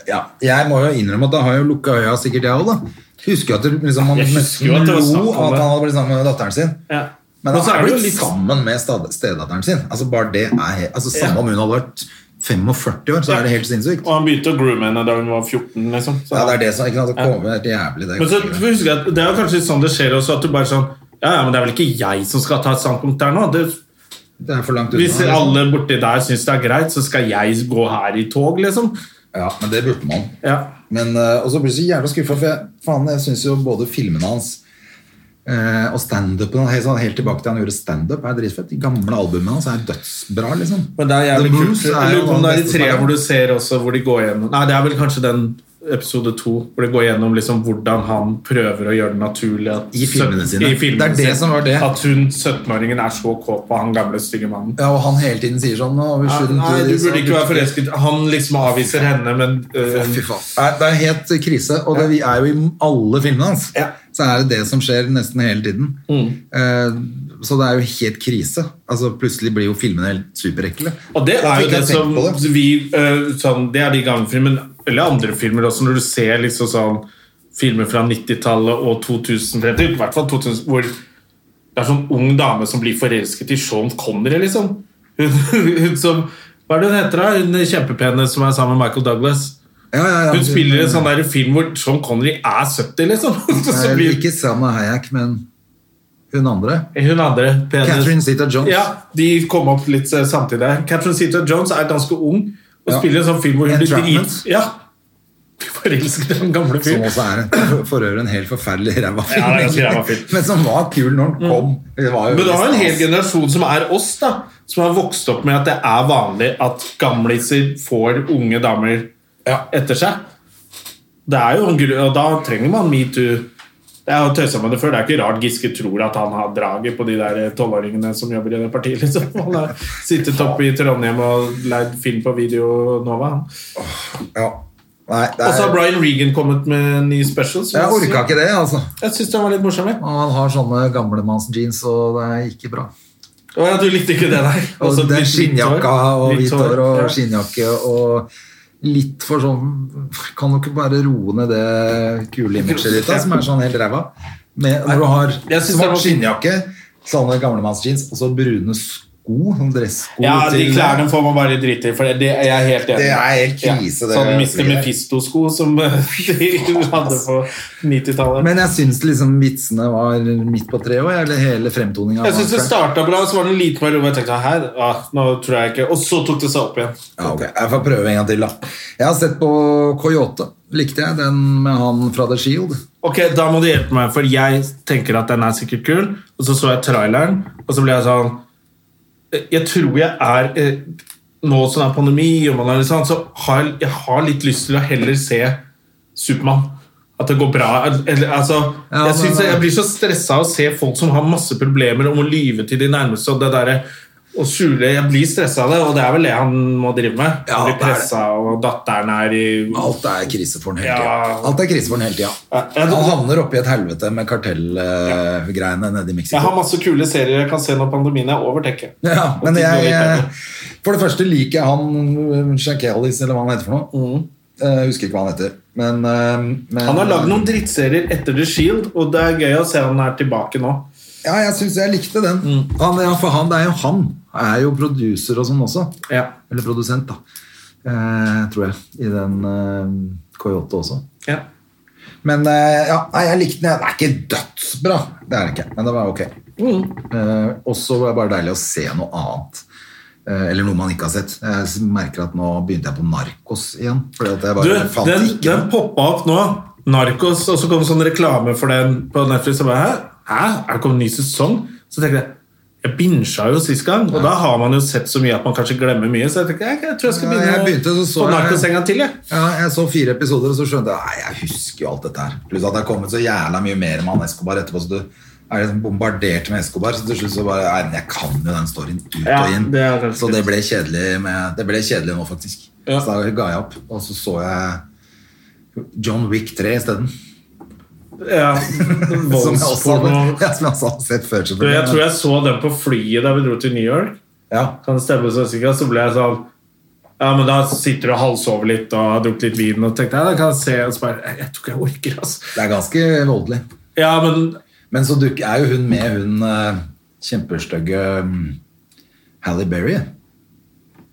Speaker 1: Ja, jeg må jo innrømme at da har jeg jo lukka øya sikkert, jeg òg, da. Husker jo at det, liksom, man
Speaker 2: Jeg husker jo at det var
Speaker 1: nesten
Speaker 2: snakk
Speaker 1: lo
Speaker 2: om
Speaker 1: av at
Speaker 2: det.
Speaker 1: han hadde blitt sammen med datteren sin.
Speaker 2: ja.
Speaker 1: Men
Speaker 2: Og
Speaker 1: han
Speaker 2: så
Speaker 1: er
Speaker 2: det jo
Speaker 1: blitt
Speaker 2: litt-
Speaker 1: sammen med stad- stedatteren sin. Altså bare det er he- altså Samme
Speaker 2: Ja.
Speaker 1: om hun hadde vært 45 år, så
Speaker 2: Ja.
Speaker 1: er det helt sinnssykt.
Speaker 2: Og han begynte å groome henne da hun var 14. liksom. Så-
Speaker 1: Ja, det er det som ikke sant, å komme helt jævlig det. er
Speaker 2: Men så
Speaker 1: ganske greit.
Speaker 2: husker jeg at det er jo kanskje sånn det skjer også, at du bare sånn Ja, ja, men det er vel ikke jeg som skal ta et standpunkt der nå. Det,
Speaker 1: Det er for langt unna.
Speaker 2: hvis
Speaker 1: liksom.
Speaker 2: alle borti der syns det er greit, så skal jeg gå her i tog, liksom.
Speaker 1: Ja, men det burde man.
Speaker 2: Ja.
Speaker 1: Men, eh, og så blir jeg så jævla skuffa, for jeg, faen, jeg syns jo både filmene hans eh, og standupen helt, sånn, helt tilbake til han gjorde standup, er dritfett. De gamle albumene hans er dødsbra, liksom.
Speaker 2: Men det er jævlig
Speaker 1: The
Speaker 2: kult.
Speaker 1: Moves er
Speaker 2: Jeg
Speaker 1: jo
Speaker 2: lurer på om det
Speaker 1: den
Speaker 2: er de
Speaker 1: beste
Speaker 2: tre
Speaker 1: sangen.
Speaker 2: hvor du ser også hvor de går gjennom Nei, det er vel kanskje den episode to hvor de går gjennom liksom hvordan han prøver å gjøre det naturlig at
Speaker 1: I filmene sine.
Speaker 2: i filmene
Speaker 1: Det er det
Speaker 2: sine.
Speaker 1: som var det.
Speaker 2: At hun 17-åringen er så kåt på han gamle, stygge mannen.
Speaker 1: Ja, og han hele tiden sier sånn nå, vi
Speaker 2: Ja,
Speaker 1: shouldn't
Speaker 2: Nei,
Speaker 1: do
Speaker 2: du
Speaker 1: this,
Speaker 2: burde
Speaker 1: og-
Speaker 2: ikke være forelsket. Han liksom avviser henne, men eh,
Speaker 1: Fy faen. Nei, Det er helt krise, og det, vi er jo i alle filmene hans.
Speaker 2: Ja. Mm.
Speaker 1: Så er det det som skjer nesten hele tiden. Eh, så det er jo helt krise. Altså, plutselig blir jo filmene helt superekle.
Speaker 2: Og det
Speaker 1: Jeg
Speaker 2: er jo
Speaker 1: fikk
Speaker 2: det
Speaker 1: tenkt
Speaker 2: som
Speaker 1: på det.
Speaker 2: vi eh, sånn, Det er de gamle filmene, eller andre filmer også, når du ser liksom sånn filmer fra 90-tallet og 2030, i hvert fall 2000, hvor det er sånn ung dame som blir forelsket i Sean Connery, liksom. Hun, hun som Hva er det hun heter, da? Hun kjempepene som er sammen med Michael Douglas.
Speaker 1: Ja, ja, ja.
Speaker 2: Hun spiller en sånn der film hvor Sean Connery er 70, liksom. Så
Speaker 1: Nei,
Speaker 2: blir
Speaker 1: Ikke Salma Hayek, men hun andre.
Speaker 2: hun andre pene-
Speaker 1: Catherine Zeta-Jones.
Speaker 2: Ja, de kom opp litt eh, samtidig. her. Catherine Zeta-Jones er ganske ung og
Speaker 1: Ja.
Speaker 2: spiller en sånn film hvor hun blir
Speaker 1: Entrapment.
Speaker 2: drit... Ja. Blir Forelsket i den gamle
Speaker 1: Som
Speaker 2: fyren.
Speaker 1: også er en, for- for øvrig en helt forferdelig ræva film.
Speaker 2: Ja, det er ganske
Speaker 1: egentlig.
Speaker 2: ræva film. Mm.
Speaker 1: Men som var kul når den kom. Det var jo liksom-
Speaker 2: Men du har jo en hel
Speaker 1: stas.
Speaker 2: generasjon som er oss, da. Som har vokst opp med at det er vanlig at gamliser får unge damer
Speaker 1: Ja.
Speaker 2: etter seg. Det er jo en grunn, Og da trenger man metoo. Det er jo tøysa med det før. Det er ikke rart Giske tror at han har draget på de der tolvåringene som jobber i det partiet. liksom. Han har sittet oppe i Trondheim og leid film på video Nova. han.
Speaker 1: Ja. Nei, det
Speaker 2: Og så har
Speaker 1: er,
Speaker 2: Brian Regan kommet med en ny special. som
Speaker 1: jeg orka ikke det, altså.
Speaker 2: Jeg syns den var litt morsom. jeg.
Speaker 1: Og han har sånne gamlemannsjeans, og det er ikke bra.
Speaker 2: Å, ja, du likte ikke det der.
Speaker 1: Og
Speaker 2: Også
Speaker 1: det er
Speaker 2: litt hvitt hår.
Speaker 1: skinnjakka og
Speaker 2: Hvitt
Speaker 1: hvitt hår og
Speaker 2: ja.
Speaker 1: skinnjakke og litt for sånn Kan du ikke bare roe ned det kule imaget ditt, da, som er sånn helt ræva? Med, når du har
Speaker 2: Jeg synes det var
Speaker 1: svart
Speaker 2: fint.
Speaker 1: skinnjakke, sånne gamlemannsjeans og så brune sko, sånn dressko
Speaker 2: Ja, de
Speaker 1: til-
Speaker 2: klærne får man bare drite i, for det, det er jeg helt enig i.
Speaker 1: Det er helt krise, det
Speaker 2: Sånn
Speaker 1: er-
Speaker 2: Mr. Mephisto-sko som eh, de hadde på 90-tallet.
Speaker 1: Men jeg syns liksom vitsene var midt på treet òg, eller hele fremtoninga.
Speaker 2: Jeg syns det starta bra, så var det en liten periode hvor jeg tenkte her, ah, nå tror jeg ikke Og så tok det seg opp igjen.
Speaker 1: Ja, ok. Jeg får prøve en gang til, da. Jeg har sett på Coyote. Likte jeg den med han fra The Shield.
Speaker 2: Ok, da må du hjelpe meg, for jeg tenker at den er sikkert kul. Og så så jeg traileren, og så ble jeg sånn eh, Jeg tror jeg er eh, Nå som det er pandemi, og man er litt sånn, så har jeg, jeg har litt lyst til å heller se Supermann. At det går bra. Eller, altså,
Speaker 1: Ja,
Speaker 2: jeg,
Speaker 1: men-
Speaker 2: synes jeg, jeg blir så stressa av å se folk som har masse problemer om å lyve til de nærmeste. og det der, å skjule, Jeg blir stressa av det, og det er vel det han må drive med.
Speaker 1: Ja,
Speaker 2: han
Speaker 1: det
Speaker 2: blir
Speaker 1: er det.
Speaker 2: pressa, og datteren er i
Speaker 1: Alt er krise for den hele tida.
Speaker 2: Ja.
Speaker 1: Alt er krise for den hele tida.
Speaker 2: Ja, jeg-
Speaker 1: Han havner oppi et helvete med kartellgreiene nede i
Speaker 2: Jeg har
Speaker 1: Mexico.
Speaker 2: masse kule serier jeg kan se når pandemien er over, tenker jeg.
Speaker 1: Ja, men
Speaker 2: Og
Speaker 1: jeg, eh,
Speaker 2: Disney-
Speaker 1: for det første liker jeg han Shakelis, eller hva han heter for noe. Jeg husker ikke hva han heter. Men, eh, men
Speaker 2: Mm. Han har lagd noen drittserier etter The Shield, og det er gøy å se han er tilbake nå.
Speaker 1: Ja, jeg syns jeg likte den.
Speaker 2: Mm.
Speaker 1: Han, ja, for han, det er jo han. Er jo producer og sånn også.
Speaker 2: Ja.
Speaker 1: Eller produsent, da. Eh, tror jeg. I den eh, Coyote også.
Speaker 2: Ja.
Speaker 1: Men eh, ja, nei, jeg likte den. Den er ikke dødsbra, det er den ikke. Men det var ok. Eh, og så var det bare deilig å se noe annet. Eh, eller noe man ikke har sett. Jeg s- merker at nå begynte jeg på Narkos igjen. Fordi at jeg
Speaker 2: Du,
Speaker 1: bare fant
Speaker 2: den,
Speaker 1: ikke
Speaker 2: den poppa opp nå. Narkos, og så kom sånn reklame for den på Netflix. Og bare, Hæ? Hæ? Er det kommet en ny sesong? Så tenkte jeg jeg binsja jo sist gang, og da har man jo sett så mye at man kanskje glemmer mye. Så jeg tenkte, jeg, jeg tror jeg skal
Speaker 1: Ja,
Speaker 2: begynne
Speaker 1: jeg begynte, så så
Speaker 2: på
Speaker 1: jeg-
Speaker 2: Narkos en gang til. Jeg.
Speaker 1: ja, Jeg så fire episoder, og så skjønte jeg Nei, jeg husker jo alt dette her. Pluss at det er kommet så jævla mye mer med han Escobar etterpå. Så du, er liksom bombardert med Escobar, så til slutt så bare Nei, men jeg kan jo den storyen ut
Speaker 2: Ja,
Speaker 1: og inn.
Speaker 2: det er helt
Speaker 1: så det ble kjedelig med, Det ble kjedelig nå, faktisk.
Speaker 2: Ja.
Speaker 1: Så da ga jeg opp, og så så jeg John Wick 3 isteden.
Speaker 2: Ja,
Speaker 1: Som jeg også hadde,
Speaker 2: voldsporno.
Speaker 1: ja, som jeg også hadde sett før.
Speaker 2: Du, Jeg
Speaker 1: selvfølgelig.
Speaker 2: tror jeg så den på flyet da vi dro til New York.
Speaker 1: ja.
Speaker 2: Kan det stemme så sikkert? Så ble jeg sånn Ja, men da sitter du og halvsover litt og har drukket litt vin og tenkte ja, da kan jeg se og så bare Jeg, jeg tror ikke jeg orker, altså.
Speaker 1: Det er ganske voldelig.
Speaker 2: Ja, men
Speaker 1: Men så dukker, er jo hun med hun eh, kjempestygge mm, Halle Berry.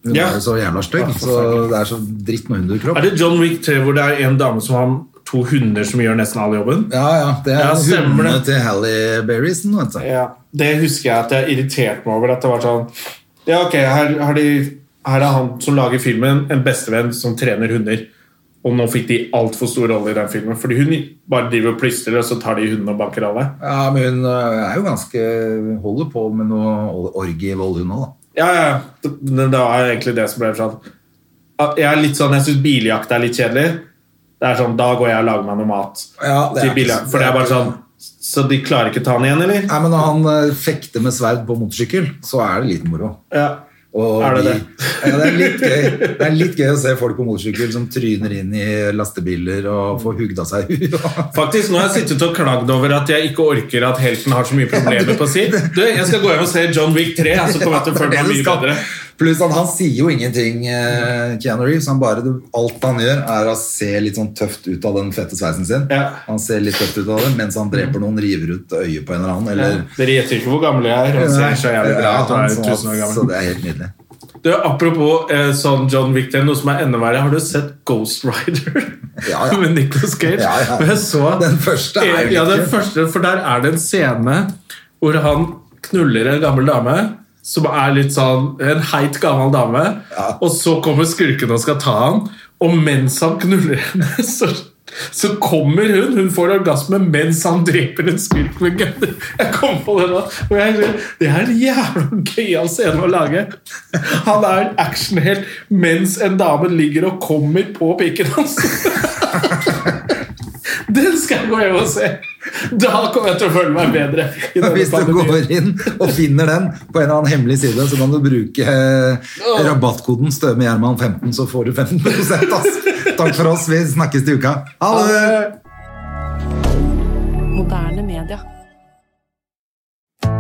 Speaker 1: Hun
Speaker 2: Ja.
Speaker 1: er jo så jævla stygg,
Speaker 2: Ja,
Speaker 1: så
Speaker 2: forferdelig.
Speaker 1: det er så dritt med
Speaker 2: er
Speaker 1: hunderkropp.
Speaker 2: det John Wick 3 hvor det er en dame som har to hunder som gjør nesten all jobben?
Speaker 1: Ja, ja, det er
Speaker 2: Ja, stemmer
Speaker 1: hundene
Speaker 2: det.
Speaker 1: til Halle Berrysen. Vet du.
Speaker 2: Ja, Det husker jeg at jeg irriterte meg over. At det var sånn Ja, ok, her, har de, her er han som lager filmen, en bestevenn som trener hunder. Og nå fikk de altfor stor rolle i den filmen. Fordi hun bare driver og plystrer, og så tar de hundene og banker alle.
Speaker 1: Ja, men hun eh, er jo ganske holder på med noe orgievold, hun òg, da.
Speaker 2: Ja, ja. det- Men det var egentlig det som ble sånn at Jeg er litt sånn, jeg syns biljakt er litt kjedelig. Det er sånn, Da går jeg og lager meg noe mat.
Speaker 1: Ja, det er
Speaker 2: til
Speaker 1: ikke-
Speaker 2: biljakt, for det er bare sånn Så de klarer ikke ta han igjen, eller?
Speaker 1: Nei, men Når han eh, fekter med sverd på motorsykkel, så er det litt moro.
Speaker 2: Ja.
Speaker 1: Og
Speaker 2: Er det
Speaker 1: de,
Speaker 2: det?
Speaker 1: Ja, det, er litt gøy. det er litt gøy å se folk på motorsykkel som tryner inn i lastebiler og får hugd av seg huet.
Speaker 2: Faktisk, Nå har jeg sittet og klagd over at jeg ikke orker at helten har så mye problemer på si. Du, Jeg skal gå hjem og se John Wick 3, så kommer jeg til å føle meg mye bedre.
Speaker 1: Pluss at han sier jo ingenting, eh, Keanu Reeves. Han bare, alt han gjør, er å se litt sånn tøft ut av den fette sveisen sin.
Speaker 2: Ja. Mm.
Speaker 1: Han ser litt tøft ut av det mens han dreper noen, river ut øyet på en eller annen. Eller,
Speaker 2: Dere gjetter ikke hvor gammel jeg er. Han
Speaker 1: Nei,
Speaker 2: ser så jævlig bra
Speaker 1: ja,
Speaker 2: ut og
Speaker 1: han
Speaker 2: er
Speaker 1: som-
Speaker 2: 1000 år
Speaker 1: Så
Speaker 2: gammel.
Speaker 1: det er helt nydelig.
Speaker 2: Du, apropos eh, sånn John Wick 3, noe som er enda verre. Har du sett Ghost Rider
Speaker 1: Ja, ja.
Speaker 2: med Nicolas Cage?
Speaker 1: Ja, ja.
Speaker 2: Og jeg så
Speaker 1: Den første er jo
Speaker 2: ja,
Speaker 1: litt
Speaker 2: den
Speaker 1: kul.
Speaker 2: første, for der er det en scene hvor han knuller en gammel dame som er litt sånn en heit gammel dame,
Speaker 1: Ja.
Speaker 2: og så kommer skurken og skal ta han, og mens han knuller henne, så, så kommer hun, hun får orgasme mens han dreper en skurk med gunner. Jeg kom på det nå. og jeg, det er en jævla gøyal scene å lage. Han er en actionhelt mens en dame ligger og kommer på piken hans. Den skal jeg gå hjem og se! Da kommer jeg til å føle meg bedre. i denne
Speaker 1: Hvis du
Speaker 2: pandemien.
Speaker 1: går inn og finner den på en eller annen hemmelig side, så kan du bruke eh, rabattkoden Stømehjermann15, så får du 15 ass. Takk for oss, vi snakkes til uka. Ha det!
Speaker 3: Moderne media.